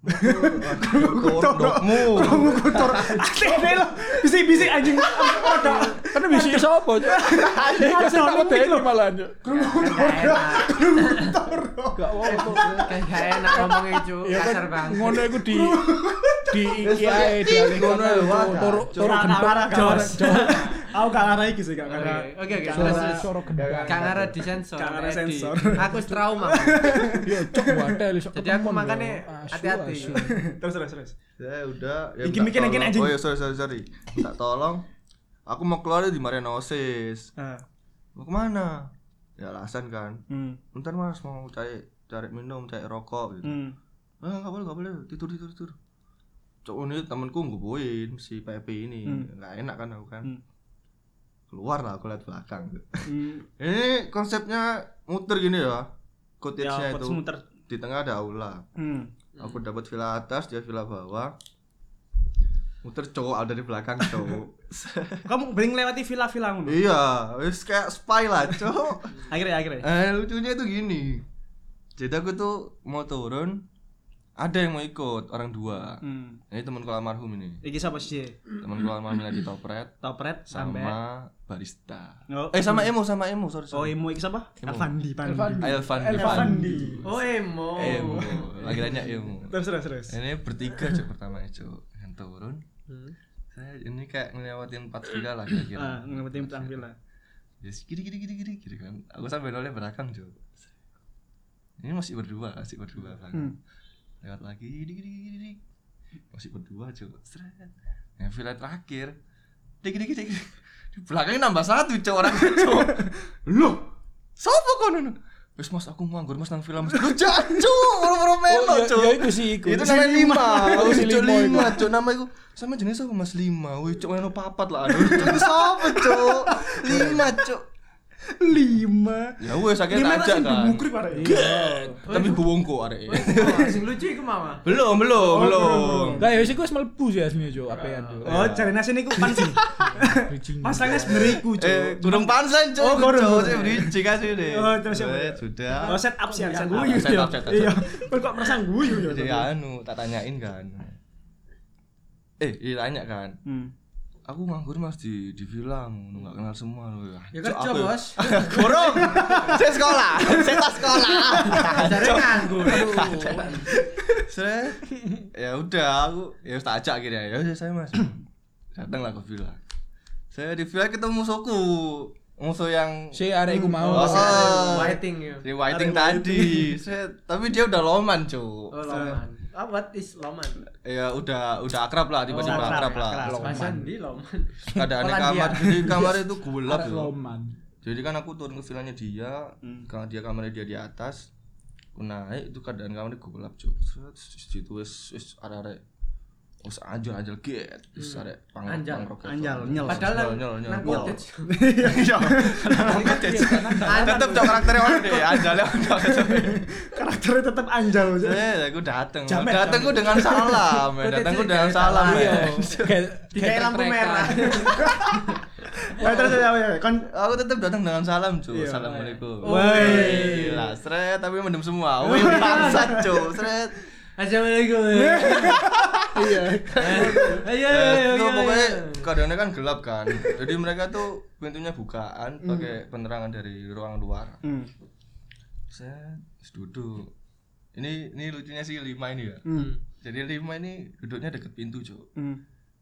Speaker 4: Kerudungmu.
Speaker 1: kotor aneh deh lo bisik-bisik anjing roda
Speaker 2: Kan bisa sapa, Cuk. Kan
Speaker 1: Kasih
Speaker 2: sama
Speaker 1: orang
Speaker 2: dene malahan, Cuk.
Speaker 3: Gak Kayak gak enak ngomongnya cuk.
Speaker 2: Ya
Speaker 3: Kasar
Speaker 2: kan
Speaker 3: banget.
Speaker 2: ngono iku di di iki ae di
Speaker 4: Ngono ya, Wak.
Speaker 2: turu turu
Speaker 1: Gak
Speaker 2: gendong
Speaker 1: ngarah jos aku gak ngarah iki sih gak
Speaker 3: Oke,
Speaker 1: ngarah
Speaker 3: Oke oke.
Speaker 2: Suara-
Speaker 3: terus, terus.
Speaker 2: suara gendang.
Speaker 3: Gak ngarah di sensor.
Speaker 1: Gak ngarah
Speaker 3: Edi.
Speaker 1: sensor.
Speaker 3: Aku trauma.
Speaker 2: Yo Iya, cok wadah iso
Speaker 3: Jadi aku makanya
Speaker 2: Ah,
Speaker 3: hati-hati.
Speaker 1: terus terus terus
Speaker 4: Ya udah, ya
Speaker 1: Bikin-
Speaker 4: minta
Speaker 1: bikin- bikin
Speaker 4: tolong.
Speaker 1: anjing.
Speaker 4: Oh ya sorry sorry sorry. Minta tolong. Aku mau keluar di Mariana Osis.
Speaker 1: Ah,
Speaker 4: Mau kemana? Ya alasan kan.
Speaker 1: hmm
Speaker 4: Bentar Mas mau cari cari minum, cari rokok gitu.
Speaker 1: hmm
Speaker 4: Eh enggak boleh, enggak boleh. Tidur tidur tidur. Cok ini temanku nggoboin si Pepe ini. Enggak enak kan aku kan.
Speaker 1: Hmm.
Speaker 4: Keluar lah aku lihat belakang.
Speaker 1: hmm.
Speaker 4: Ini konsepnya muter gini
Speaker 1: ya
Speaker 4: ya cottage-nya
Speaker 1: buat
Speaker 4: itu
Speaker 1: muter
Speaker 4: di tengah ada aula
Speaker 1: hmm.
Speaker 4: aku dapat villa atas dia villa bawah muter cowok ada di belakang cowok
Speaker 1: kamu beli lewati villa-villa ngono
Speaker 4: iya wis kayak spy lah cowok
Speaker 1: akhirnya akhirnya
Speaker 4: eh lucunya tuh gini jadi aku tuh mau turun ada yang mau ikut orang dua
Speaker 1: hmm.
Speaker 4: ini teman kolam almarhum ini
Speaker 1: iki sapa sih
Speaker 4: teman kolam almarhum lagi topret
Speaker 1: topret sampai
Speaker 4: sama barista
Speaker 1: Oh.
Speaker 4: eh sama emo sama emo sorry
Speaker 1: oh
Speaker 4: sorry
Speaker 1: emu iki sapa
Speaker 4: Emo.
Speaker 1: Avandi Pandi
Speaker 4: Elvan
Speaker 2: Elvandi.
Speaker 3: Oh emo.
Speaker 4: emo lagi nanya emo
Speaker 1: terus terus terus
Speaker 4: ini bertiga cok pertama cok yang turun Hmm. saya ini kayak ngelewatin empat villa
Speaker 1: ah
Speaker 4: lah kira-kira
Speaker 1: ngelumatin petang villa
Speaker 4: ya kiri kiri kiri kiri kiri kan aku sampai nolnya belakang cok ini masih berdua masih berdua belakang lewat lagi kiri kiri kiri kiri masih berdua cok seret yang villa terakhir kiri kiri kiri kiri. di belakangnya nambah satu cok orang cok loh siapa kau nuno Wes mas aku nganggur mas nang villa mas lu jancuk orang-orang melo
Speaker 2: ya,
Speaker 4: cok
Speaker 2: ya iku sih iku.
Speaker 4: Oh, iya, itu namanya lima
Speaker 2: Aku
Speaker 4: wih
Speaker 2: si
Speaker 4: cok
Speaker 2: lima iku.
Speaker 4: lima cok nama itu sama jenis aku mas lima wih cok yang papat lah aduh cok itu siapa cok lima cok
Speaker 1: lima
Speaker 4: ya wes akhirnya
Speaker 1: lima
Speaker 4: tak ajak
Speaker 1: tak
Speaker 4: kan
Speaker 1: dimukri pada
Speaker 4: tapi buwong kok arek
Speaker 3: Oh, Sing lucu iku mama.
Speaker 4: belum belum Oh, belum
Speaker 2: Lah ya wis iku wis mlebu sih asline Cuk, apean Cuk.
Speaker 1: oh cari nasi niku pan sih
Speaker 2: Bridging.
Speaker 1: masangnya sebenarnya cok
Speaker 4: eh gurung pansen cok
Speaker 1: Oh, gurung.
Speaker 4: cok saya bridging kasih deh
Speaker 1: Oh, terus siapa?
Speaker 4: Eh, sudah
Speaker 1: Oh, set up sih, set up.
Speaker 4: Guyu, Set up, set up, set up.
Speaker 1: Iya, Kan kok merasa guyu ya.
Speaker 4: jadi anu tak tanyain kan eh ditanya kan
Speaker 1: Hmm.
Speaker 4: aku nganggur mas di di villa ngono, nggak kenal semua loh ya
Speaker 3: Ya
Speaker 4: Cok,
Speaker 3: kerja,
Speaker 4: aku-
Speaker 3: Bos.
Speaker 4: Gorong. Saya sekolah, saya tak sekolah.
Speaker 3: Dasare nganggur.
Speaker 4: Saya ya udah aku ya wis tak ajak akhirnya. Ya udah saya Mas. Datanglah ke villa. Saya di villa ketemu musuhku. Musuh yang
Speaker 2: Si arek iku mau.
Speaker 4: Oh, si-
Speaker 3: Waiting ya.
Speaker 4: di whiting tadi. Saya, tapi dia udah loman, Cuk.
Speaker 3: Oh, loman. Ah, what is loman?
Speaker 4: Ya udah udah akrab lah, tiba-tiba
Speaker 1: Oh, akrab,
Speaker 4: akrab, lah.
Speaker 1: akrab. Loman.
Speaker 3: Bahasa di loman.
Speaker 4: Keadaannya
Speaker 3: Polandia.
Speaker 4: kamar, jadi kamar itu gelap
Speaker 2: Arek
Speaker 4: loh.
Speaker 2: loman.
Speaker 4: Jadi kan aku turun ke villanya dia,
Speaker 1: Hmm.
Speaker 4: kalau dia kamarnya dia di atas, aku naik itu keadaan kamarnya gelap cuk. Set, Terus situ wes wes arek-arek "Oh, wes anjal anjal get, wes arek pang
Speaker 3: Anjal.
Speaker 4: pang
Speaker 1: Hmm.
Speaker 4: roket.
Speaker 1: Anjal, nyel.
Speaker 3: Padahal
Speaker 4: Nyel,
Speaker 3: nang-
Speaker 4: nyel, nyel.
Speaker 3: nang cottage.
Speaker 4: Iya. Nang cottage. Tetep cok karakternya orang deh, anjalnya orang
Speaker 1: Karakternya tetap anjal. Cuk.
Speaker 4: Eh, aku dateng.
Speaker 1: Jamet,
Speaker 4: Datengku dengan salam, eh.
Speaker 3: Cottage
Speaker 4: datengku
Speaker 3: ini
Speaker 4: dengan
Speaker 3: kayak
Speaker 4: salam.
Speaker 2: Ah,
Speaker 3: talang,
Speaker 1: Iya.
Speaker 4: eh.
Speaker 2: Iya. Kayak
Speaker 3: Kayak lampu merah.
Speaker 1: Ayo, Eh, terus terus, ayo, ayo. Kon
Speaker 4: Aku tetap datang dengan salam, cuy.
Speaker 1: Iya.
Speaker 4: Assalamualaikum.
Speaker 1: Woi.
Speaker 4: Gila, sret, tapi mendem semua. Wih, bangsat, cuy. Sret.
Speaker 3: Assalamualaikum.
Speaker 1: Eh,
Speaker 3: Iya.
Speaker 1: iya,
Speaker 3: Ayo,
Speaker 2: Iya,
Speaker 4: Eh,
Speaker 3: ayo,
Speaker 4: itu
Speaker 3: ayo.
Speaker 4: pokoknya
Speaker 3: ayo.
Speaker 4: keadaannya kan gelap kan jadi mereka tuh pintunya bukaan
Speaker 2: Hmm.
Speaker 4: pakai penerangan dari ruang luar
Speaker 1: Hmm.
Speaker 4: saya terus duduk ini ini lucunya sih lima ini ya
Speaker 1: Hmm.
Speaker 4: jadi lima ini duduknya deket pintu cok
Speaker 1: Hmm.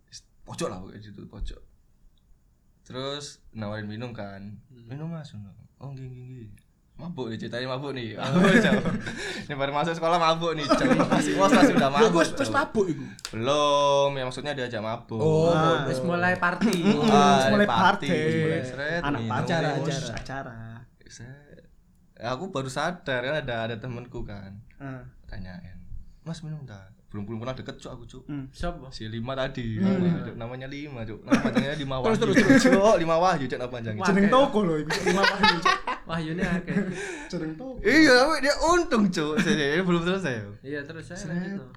Speaker 4: Terus pojok lah pokoknya situ pojok terus nawarin minum kan
Speaker 2: Hmm.
Speaker 4: minum mas minum. oh gini gini mabuk nih ceritanya mabuk nih mabuk cok ini baru masuk sekolah mabuk nih cok masih was masih udah
Speaker 2: Aku
Speaker 4: mabuk
Speaker 2: wis wis
Speaker 4: Cok.
Speaker 2: mabuk iku.
Speaker 4: belum ya maksudnya diajak mabuk
Speaker 2: Oh,
Speaker 1: Ah.
Speaker 3: Terus mulai party.
Speaker 4: Ah,
Speaker 1: Terus mulai
Speaker 4: party,
Speaker 1: party.
Speaker 4: terus mulai seret,
Speaker 1: Anak
Speaker 4: minum.
Speaker 1: pacara,
Speaker 2: acara.
Speaker 1: acara. Acara.
Speaker 4: Saya- aku baru sadar kan ada ada temanku kan
Speaker 1: Ah.
Speaker 4: tanyain mas minum tak belum belum pernah deket cuk aku cuk
Speaker 3: Sopo?
Speaker 4: si lima tadi namanya, Cuk. namanya lima cuk nama panjangnya lima wahyu
Speaker 2: Terus, terus,
Speaker 4: cuk lima wahyu cuk nama panjangnya
Speaker 3: Wah.
Speaker 1: Jeneng
Speaker 3: Oke.
Speaker 1: toko loh iku. Lima pagi, Cuk.
Speaker 3: Wahyune akeh.
Speaker 1: Jeneng toko.
Speaker 4: iya tapi dia untung cuk Saya- belum selesai yo.
Speaker 3: Iya, terus saya lanjut. no.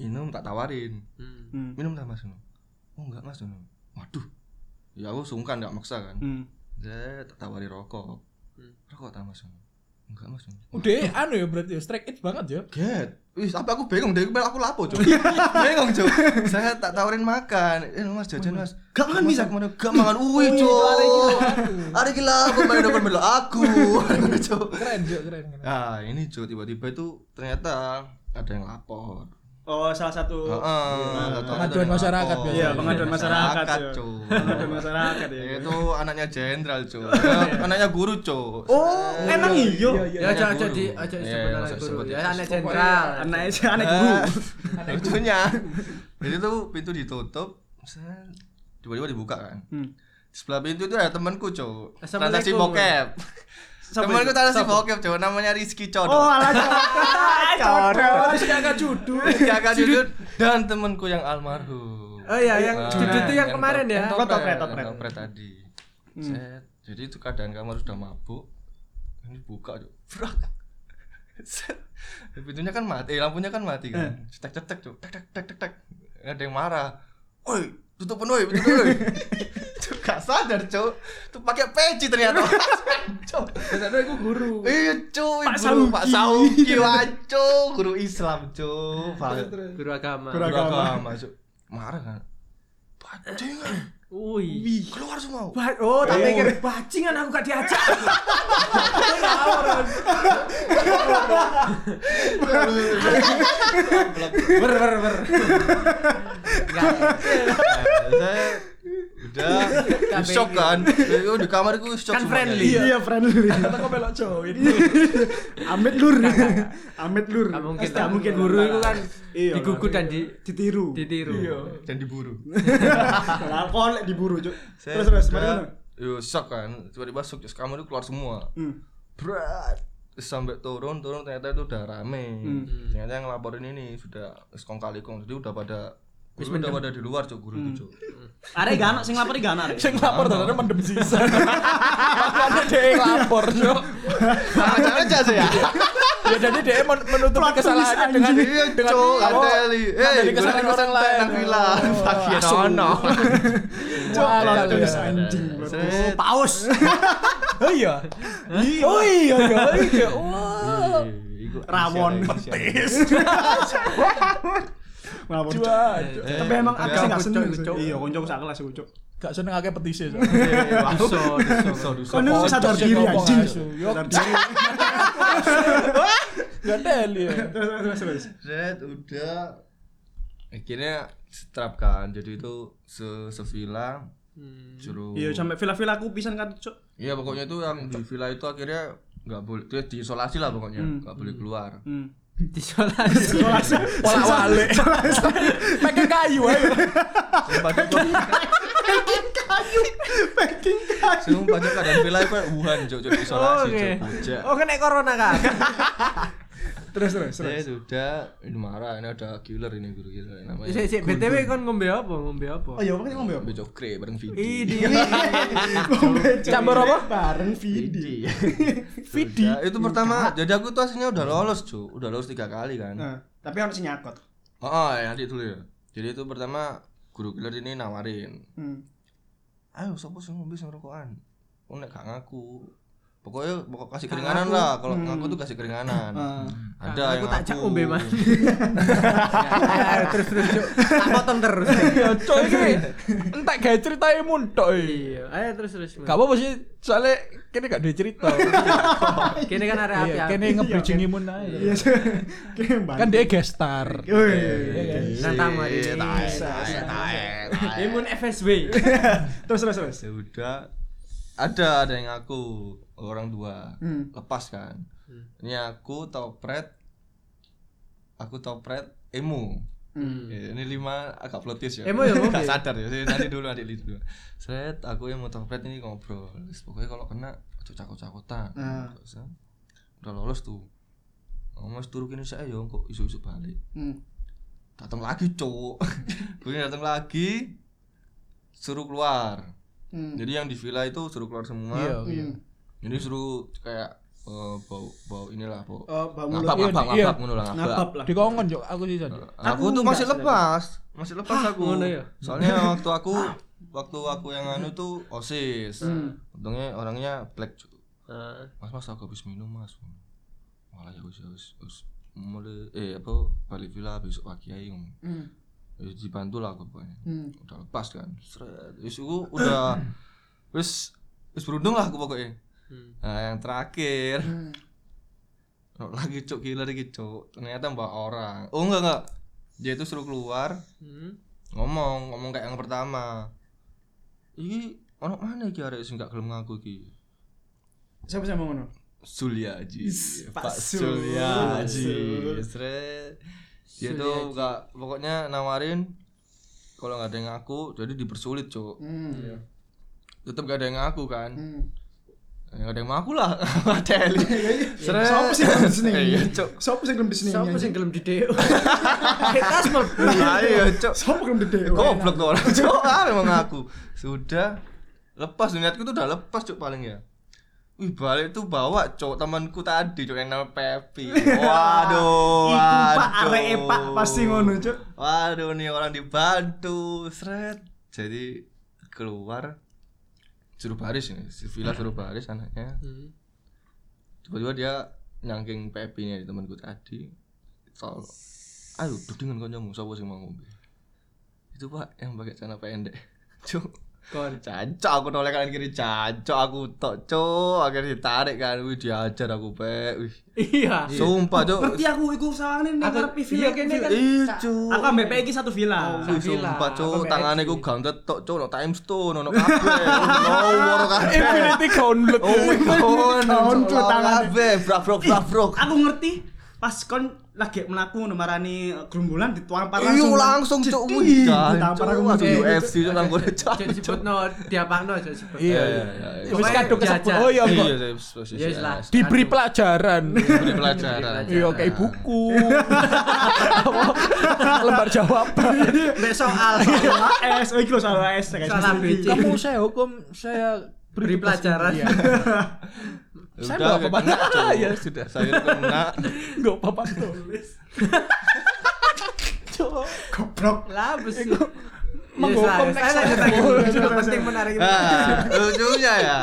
Speaker 4: minum tak tawarin
Speaker 3: Hmm.
Speaker 1: Hmm.
Speaker 4: minum tak mas minum oh enggak mas minum waduh ya aku sungkan enggak maksa kan
Speaker 1: Hmm.
Speaker 4: saya tak tawari rokok
Speaker 3: Hmm.
Speaker 4: rokok tak mas minum enggak mas minum
Speaker 2: Udah anu ya berarti ya, strike it banget ya.
Speaker 4: Get. Wih, tapi aku bingung deh, Mel, aku lapo, Cuk. bingung, Cuk. Saya tak tawarin makan. Eh, Mas jajan, Mas.
Speaker 1: Gak makan
Speaker 4: Mas,
Speaker 1: bisa?
Speaker 4: aku mana? Gak makan. Wih, Cuk. Ada gila, aku main dokter melo aku. Cuk.
Speaker 2: Keren juga keren. keren.
Speaker 4: Nah, ini Cuk tiba-tiba itu ternyata ada yang lapor.
Speaker 1: Oh, salah satu
Speaker 4: Heeh, nggak tahu
Speaker 2: pengaduan
Speaker 4: ada yang
Speaker 2: masyarakat
Speaker 4: lapor.
Speaker 2: biasa.
Speaker 1: Iya, pengaduan masyarakat, Cuk.
Speaker 4: Cuk.
Speaker 1: pengaduan masyarakat ya.
Speaker 4: Ya, Itu anaknya jenderal, Cuk. Anaknya guru, Cuk.
Speaker 1: Oh, emang iyo.
Speaker 3: Ya
Speaker 4: Anak
Speaker 3: aja aja
Speaker 4: guru.
Speaker 3: di aja
Speaker 4: Iya,
Speaker 3: sebut anak
Speaker 4: masa
Speaker 3: guru.
Speaker 4: sebut
Speaker 3: Ya
Speaker 4: ya.
Speaker 3: anak jenderal.
Speaker 1: Anak anak guru.
Speaker 4: Eh, lucunya jadi tuh pintu ditutup saya tiba-tiba dibuka kan
Speaker 1: Hmm.
Speaker 4: di sebelah pintu itu ada temanku cowok transaksi
Speaker 3: Assalamualaikum.
Speaker 4: bokep
Speaker 1: Siapa
Speaker 4: temanku
Speaker 1: itu?
Speaker 4: transaksi
Speaker 1: Siapa?
Speaker 4: bokep cowok namanya
Speaker 1: Oh,
Speaker 4: Rizky Codo
Speaker 1: ala cocok.
Speaker 2: Terus kakak judul.
Speaker 4: Rizky kakak judul dan temanku yang almarhum
Speaker 3: Oh iya, yang
Speaker 4: Nah,
Speaker 3: judul itu yang kemarin ya.
Speaker 4: yang
Speaker 1: Topret,
Speaker 4: topret,
Speaker 1: topret.
Speaker 4: yang topret tadi Set. jadi itu keadaan kamu sudah mabuk ini buka cuk Brak. Set. pintunya kan mati eh, lampunya kan mati kan cetek cetek cuk tek tek tek tek tek ada yang marah oi tutup penuh tutup penuh cuk gak sadar cuk tuh pakai peci ternyata cuk
Speaker 3: Ternyata aku guru.
Speaker 4: iya cuk
Speaker 1: Pak
Speaker 4: guru- Pak
Speaker 1: Sauki.
Speaker 4: Sauki wah cuk guru Islam cuk
Speaker 3: Terus,
Speaker 4: Banget.
Speaker 3: terus. Guru agama.
Speaker 1: Guru-
Speaker 4: Guru
Speaker 1: Beragama.
Speaker 4: agama cuk marah kan bajingan
Speaker 3: Wih.
Speaker 1: Wih.
Speaker 4: keluar semua
Speaker 3: Ba- oh, tak
Speaker 1: Eh.
Speaker 3: pikir bajingan aku gak diajak. Ber ber ber.
Speaker 4: Eh, saya udah shock kan Itu di kamar gue shock
Speaker 3: Kan
Speaker 4: semuanya.
Speaker 3: friendly.
Speaker 4: Iya.
Speaker 1: Iya, friendly. Kata kok belok cowok itu. Amit lur. Amit lur.
Speaker 3: Gak mungkin.
Speaker 1: Gak
Speaker 3: lah.
Speaker 1: mungkin
Speaker 3: Guru itu kan
Speaker 1: Iya,
Speaker 3: digugut dan di
Speaker 1: ditiru.
Speaker 3: ditiru.
Speaker 1: Iya.
Speaker 4: dan diburu
Speaker 1: Lah kok lek diburu, Cuk.
Speaker 4: Saya
Speaker 1: Terus terus
Speaker 4: udah-
Speaker 1: mari ngono.
Speaker 4: yo shock kan tiba-tiba shock terus kamar itu keluar semua
Speaker 1: Hmm.
Speaker 4: berat Terus sampai turun turun ternyata itu udah rame
Speaker 1: Hmm.
Speaker 4: ternyata yang ngelaporin ini sudah kong kali kong jadi udah pada
Speaker 3: Wis
Speaker 4: guru udah pada di luar cok guru
Speaker 1: Hmm.
Speaker 4: itu cok
Speaker 1: Arek gak ono sing lapor gak ono arek.
Speaker 2: Sing lapor dalane mendem sisan. Makane dhek lapor, Cuk.
Speaker 4: cara aja sih ya
Speaker 2: Ya jadi dhek men- menutupi
Speaker 1: twist,
Speaker 2: kesalahannya dengan Oh,
Speaker 4: iya cok
Speaker 1: oh,
Speaker 2: apa?
Speaker 4: nganteli eh
Speaker 2: nganteli
Speaker 4: guru
Speaker 2: kesalahan
Speaker 4: kesan
Speaker 2: orang lain.
Speaker 4: tak bilang
Speaker 2: Oh,
Speaker 4: bagian
Speaker 2: asu.
Speaker 4: ono
Speaker 1: Cuk,
Speaker 2: Wah,
Speaker 1: plot
Speaker 2: iya, iya.
Speaker 1: twist anjing. plot twist.
Speaker 4: Set.
Speaker 2: Paus. Oh iya. Oh iya iya. iya. Wah.
Speaker 4: Iya, iku
Speaker 1: Rawon
Speaker 4: Indonesia,
Speaker 1: petis. Melapor, Cuk.
Speaker 2: Dua.
Speaker 4: Eh,
Speaker 1: Tapi emang aku
Speaker 4: iya,
Speaker 1: sih gak
Speaker 4: aku
Speaker 1: seneng.
Speaker 4: cok,
Speaker 1: Cuk.
Speaker 4: cok.
Speaker 1: Iya, konco sak kelas iku, Cuk.
Speaker 2: Gak seneng akeh ya, petisi. Cuk.
Speaker 3: Duso, duso.
Speaker 4: Duso, duso.
Speaker 1: Kan itu
Speaker 2: Kocok
Speaker 1: sadar
Speaker 2: sih
Speaker 1: diri
Speaker 2: ngomong
Speaker 1: anjing.
Speaker 2: asu. Yo.
Speaker 1: Sadar diri.
Speaker 2: Gak teli. ya.
Speaker 1: Terus terus terus.
Speaker 4: Set udah akhirnya seterapkan jadi itu se sevilla suruh
Speaker 1: Iya, sampai villa-villa aku pisan kan, Cuk.
Speaker 4: Iya, pokoknya itu yang di villa itu akhirnya nggak boleh dia diisolasi lah pokoknya nggak boleh keluar
Speaker 1: Hmm.
Speaker 3: Disolasi.
Speaker 2: Pola wale. Pakai kayu ayo.
Speaker 4: sumpah juga
Speaker 1: Packing kan.
Speaker 4: sumpah juga dan villa itu kayak Wuhan cok jadi isolasi
Speaker 3: Oke.
Speaker 4: cok bocah
Speaker 3: Oh, kena corona kan?
Speaker 1: Terus terus terus.
Speaker 4: saya sudah ini marah ini ada killer ini guru killer namanya
Speaker 3: Sik sik BTW kon ngombe apa? Ngombe Iya, apa?
Speaker 1: Oh iya, pengen ngombe apa?
Speaker 4: Ambil cokre bareng Vidi
Speaker 3: Idi.
Speaker 1: Campur apa? Bareng Vidi.
Speaker 4: Vidi Vidi itu pertama jadi aku tuh aslinya udah lolos cok udah lolos tiga kali kan
Speaker 1: Nah, tapi harus nyakot.
Speaker 4: Oh, oh ya, nanti dulu ya. Jadi itu pertama guru killer ini nawarin,
Speaker 1: Hmm.
Speaker 4: ayo sopo sing ngombe sing rokokan. Aku nek gak ngaku. Pokoknya pokok kasih keringanan lah, kalau ngaku tuh kasih keringanan. Ada yang
Speaker 3: Aku tak jak
Speaker 4: ngaku.
Speaker 3: ngombe man. Terus terus Cuk. Tak potong terus.
Speaker 2: Ya cok iki. Entek gawe ceritane muntok iki.
Speaker 3: Iya, ayo terus terus. Man.
Speaker 2: Gak apa-apa sih, soalnya kini gak ada cerita.
Speaker 3: Kene kan arek api.
Speaker 2: Iya, kini ngebridgingi mun aja.
Speaker 1: Iya, kayak
Speaker 2: Kan dia guest star.
Speaker 1: Oh iya, iya, iya.
Speaker 3: Nantang mari.
Speaker 4: Iya, tae, tae, tae, tae.
Speaker 3: Imun FSB.
Speaker 1: Terus terus terus.
Speaker 4: Ya udah ada ada yang ngaku orang dua
Speaker 1: Hmm.
Speaker 4: lepas kan. Ini aku topret aku topret emu.
Speaker 1: Hmm.
Speaker 4: Ya, ini lima agak plotis ya.
Speaker 3: Emo ya, Bang.
Speaker 4: Gak sadar ya. Saya nanti dulu nanti dulu. Seret aku yang mau toplet ini ngobrol. Terus Pokoknya kalau kena aja cakot-cakotan.
Speaker 1: Ah.
Speaker 4: Terus, ya, Udah lolos tuh. Ngomong "Mas, turu kini saya ya kok isu-isu balik.
Speaker 1: Hmm.
Speaker 4: Datang lagi, Cuk. Gue datang lagi suruh keluar.
Speaker 1: Hmm.
Speaker 4: Jadi yang di villa itu suruh keluar semua.
Speaker 2: Iya, iya.
Speaker 1: Hmm.
Speaker 4: Jadi suruh kayak eh, bau bau inilah bau.
Speaker 1: Eh,
Speaker 3: Oh,
Speaker 1: Mbak Mulut.
Speaker 4: ngabak
Speaker 2: iya,
Speaker 4: ngabak
Speaker 2: iya.
Speaker 4: ngabak ngono lah ngabak.
Speaker 1: Ngabab lah.
Speaker 2: Di kongkon Jok, aku sih tadi.
Speaker 4: Aku,
Speaker 1: Aku
Speaker 4: tuh
Speaker 1: enggak
Speaker 4: masih
Speaker 1: sebenarnya.
Speaker 4: lepas, masih lepas aku.
Speaker 3: ngono ya?
Speaker 4: Soalnya waktu aku waktu aku yang anu tuh OSIS. Untungnya orangnya black juga.
Speaker 3: Heeh.
Speaker 4: Mas Mas aku habis minum, Mas. Malah ya wis ya wis wis mulai eh apa balik villa besok pagi aja ngomong.
Speaker 1: Hmm.
Speaker 4: Wis dibantu lah aku pokoknya.
Speaker 1: Hmm.
Speaker 4: Udah lepas kan. Seret. Wis aku udah wis wis beruntung lah aku pokoknya.
Speaker 3: hmm.
Speaker 4: Nah, yang terakhir. Oh, lagi cuk killer iki cuk. Ternyata mbak orang. Oh enggak enggak. Dia itu suruh keluar ngomong ngomong kayak yang pertama. Iki ono mana iki arek sing gak gelem ngaku iki?
Speaker 1: Siapa siapa ngono?
Speaker 4: Sulya Haji.
Speaker 1: Is, Pak
Speaker 4: Sulya Haji.
Speaker 1: Sul.
Speaker 4: Sret. Dia tuh gak pokoknya nawarin kalau nggak ada yang ngaku jadi dipersulit cuk.
Speaker 1: Hmm.
Speaker 4: Tetep gak ada yang ngaku kan.
Speaker 1: Hmm. Iya,
Speaker 4: Ya, ada yang ngaku lah. Mateli. Seret.
Speaker 1: Siapa sih yang di sini?
Speaker 4: Iya, Cuk.
Speaker 1: Siapa sih yang di sini?
Speaker 3: Sopo sing gelem di DO? Kita semua
Speaker 4: Ayo, Cuk.
Speaker 1: Siapa yang di
Speaker 4: Eh, Goblok tuh orang ah, Jawa memang aku. Sudah lepas niatku tuh udah lepas cuk paling ya. Wih balik tuh bawa cowok temanku tadi cowok yang nama Pepi.
Speaker 1: Iku pak
Speaker 4: Waduh, waduh.
Speaker 1: areke pak pasti ngono cuk.
Speaker 4: Waduh nih orang dibantu, seret. Jadi keluar suruh baris ini, si Villa suruh baris anaknya.
Speaker 1: Hmm.
Speaker 4: Tiba-tiba dia nyangking Pepinya di temanku tadi. Tol. Ayo duduk dengan kancamu, sapa sing mau ngombe. Itu Pak yang pakai celana pendek. Cuk.
Speaker 2: kon
Speaker 4: Cancok aku noleh kanan kiri cancok aku tok cok akhirnya ditarik kan wih diajar aku pek wih
Speaker 2: iya
Speaker 4: sumpah cok
Speaker 1: Ngerti aku iku sawangane ning
Speaker 2: Aku-
Speaker 1: ngarepe villa
Speaker 2: iya,
Speaker 1: kene kan.
Speaker 4: ih cok
Speaker 1: Aku ambek PE iki satu villa.
Speaker 4: Wih, sumpah cok tangannya ku gantet tok cok no time stone no kabeh nomor kabeh
Speaker 2: Infinity Gauntlet
Speaker 4: oh my
Speaker 1: Tahun,
Speaker 4: god
Speaker 1: Cuk,
Speaker 4: cok
Speaker 1: tangannya.
Speaker 4: kabeh brak brok brak brok
Speaker 1: Aku ngerti pas kon lagi melaku numarani eh, gerombolan ditampar langsung.
Speaker 4: Iyo Iya, langsung cok wih
Speaker 1: ditampar
Speaker 4: ditampar
Speaker 1: aku
Speaker 4: aku
Speaker 1: mesti.
Speaker 4: UFC cok nang kono cok
Speaker 3: Jadi sebutno diapakno jadi sebut.
Speaker 2: Iya. wis kadung kesebut oh iya kok
Speaker 4: iya posisi
Speaker 3: Iya, lah.
Speaker 4: S.
Speaker 2: diberi pelajaran
Speaker 4: Beri pelajaran
Speaker 2: iya kayak buku Apa? lembar jawaban
Speaker 3: Mbak soal
Speaker 1: Salah S, oh iki lho salah S guys.
Speaker 3: soal ABC.
Speaker 2: kamu saya hukum saya
Speaker 3: Beri pelajaran.
Speaker 2: Iya. Saya
Speaker 4: Udah, gak
Speaker 2: belum apa-apa.
Speaker 4: kena, Cuk.
Speaker 2: Ya,
Speaker 4: sudah saya kena.
Speaker 2: nggak apa-apa tulis Cok,
Speaker 1: Goblok.
Speaker 3: Lah Iya, bes.
Speaker 2: menghukum next
Speaker 3: Yang penting menarik.
Speaker 4: Nah, lucunya ya.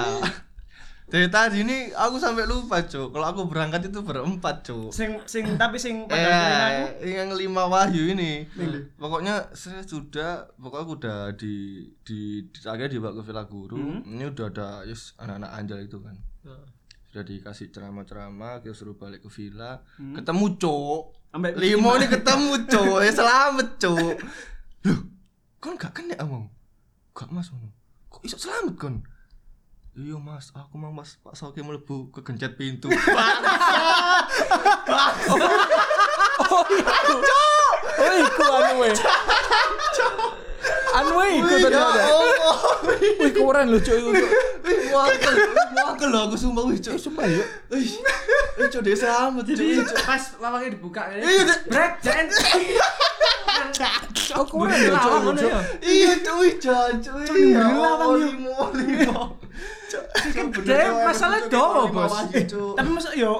Speaker 4: Dari tadi ini aku sampai lupa, Cuk. Kalau aku berangkat itu berempat, Cuk.
Speaker 1: Sing sing tapi sing pada akhirnya aku
Speaker 4: Eh, yang lima Wahyu ini. Pokoknya saya sudah pokoknya aku udah di di, di akhirnya dibawa ke Villa Guru. Ini udah ada yes, anak-anak anjal itu kan. Sudah dikasih ceramah-ceramah, kita suruh balik ke villa. Ketemu, Cuk.
Speaker 1: ambek
Speaker 4: Limo ini ketemu cowok, ya selamat cowok. Loh, kon gak kena among? Gak mas ngono. Kok iso selamat kon? Iya mas, aku mau mas Pak Soki melebu kegencet pintu.
Speaker 2: Oh iya. Oh iku anu we. Anu we iku
Speaker 4: Wih, ya
Speaker 2: ternyata.
Speaker 4: Allah.
Speaker 2: Wih keren lho cuy.
Speaker 4: Wih, wakil, wakil loh aku sumpah wih
Speaker 2: Eh,
Speaker 4: cowok. Sumpah ya. Wih, cowok dia selamat
Speaker 3: Jadi
Speaker 4: cowok.
Speaker 3: pas lawangnya dibuka ya. ini.
Speaker 4: Iya, Cuk.
Speaker 3: Brek, jangan.
Speaker 2: Oh keren lho cuy.
Speaker 3: Lawang ngono ya.
Speaker 4: Iya cowok, jangan cowok. Ya Allah, limo, limo. Cowok, bener,
Speaker 3: Deh,
Speaker 4: cowok,
Speaker 3: masalah
Speaker 4: bener,
Speaker 3: doa,
Speaker 4: cowok, limo
Speaker 3: Bos.
Speaker 4: wahyu, cowok.
Speaker 1: tapi masuk yo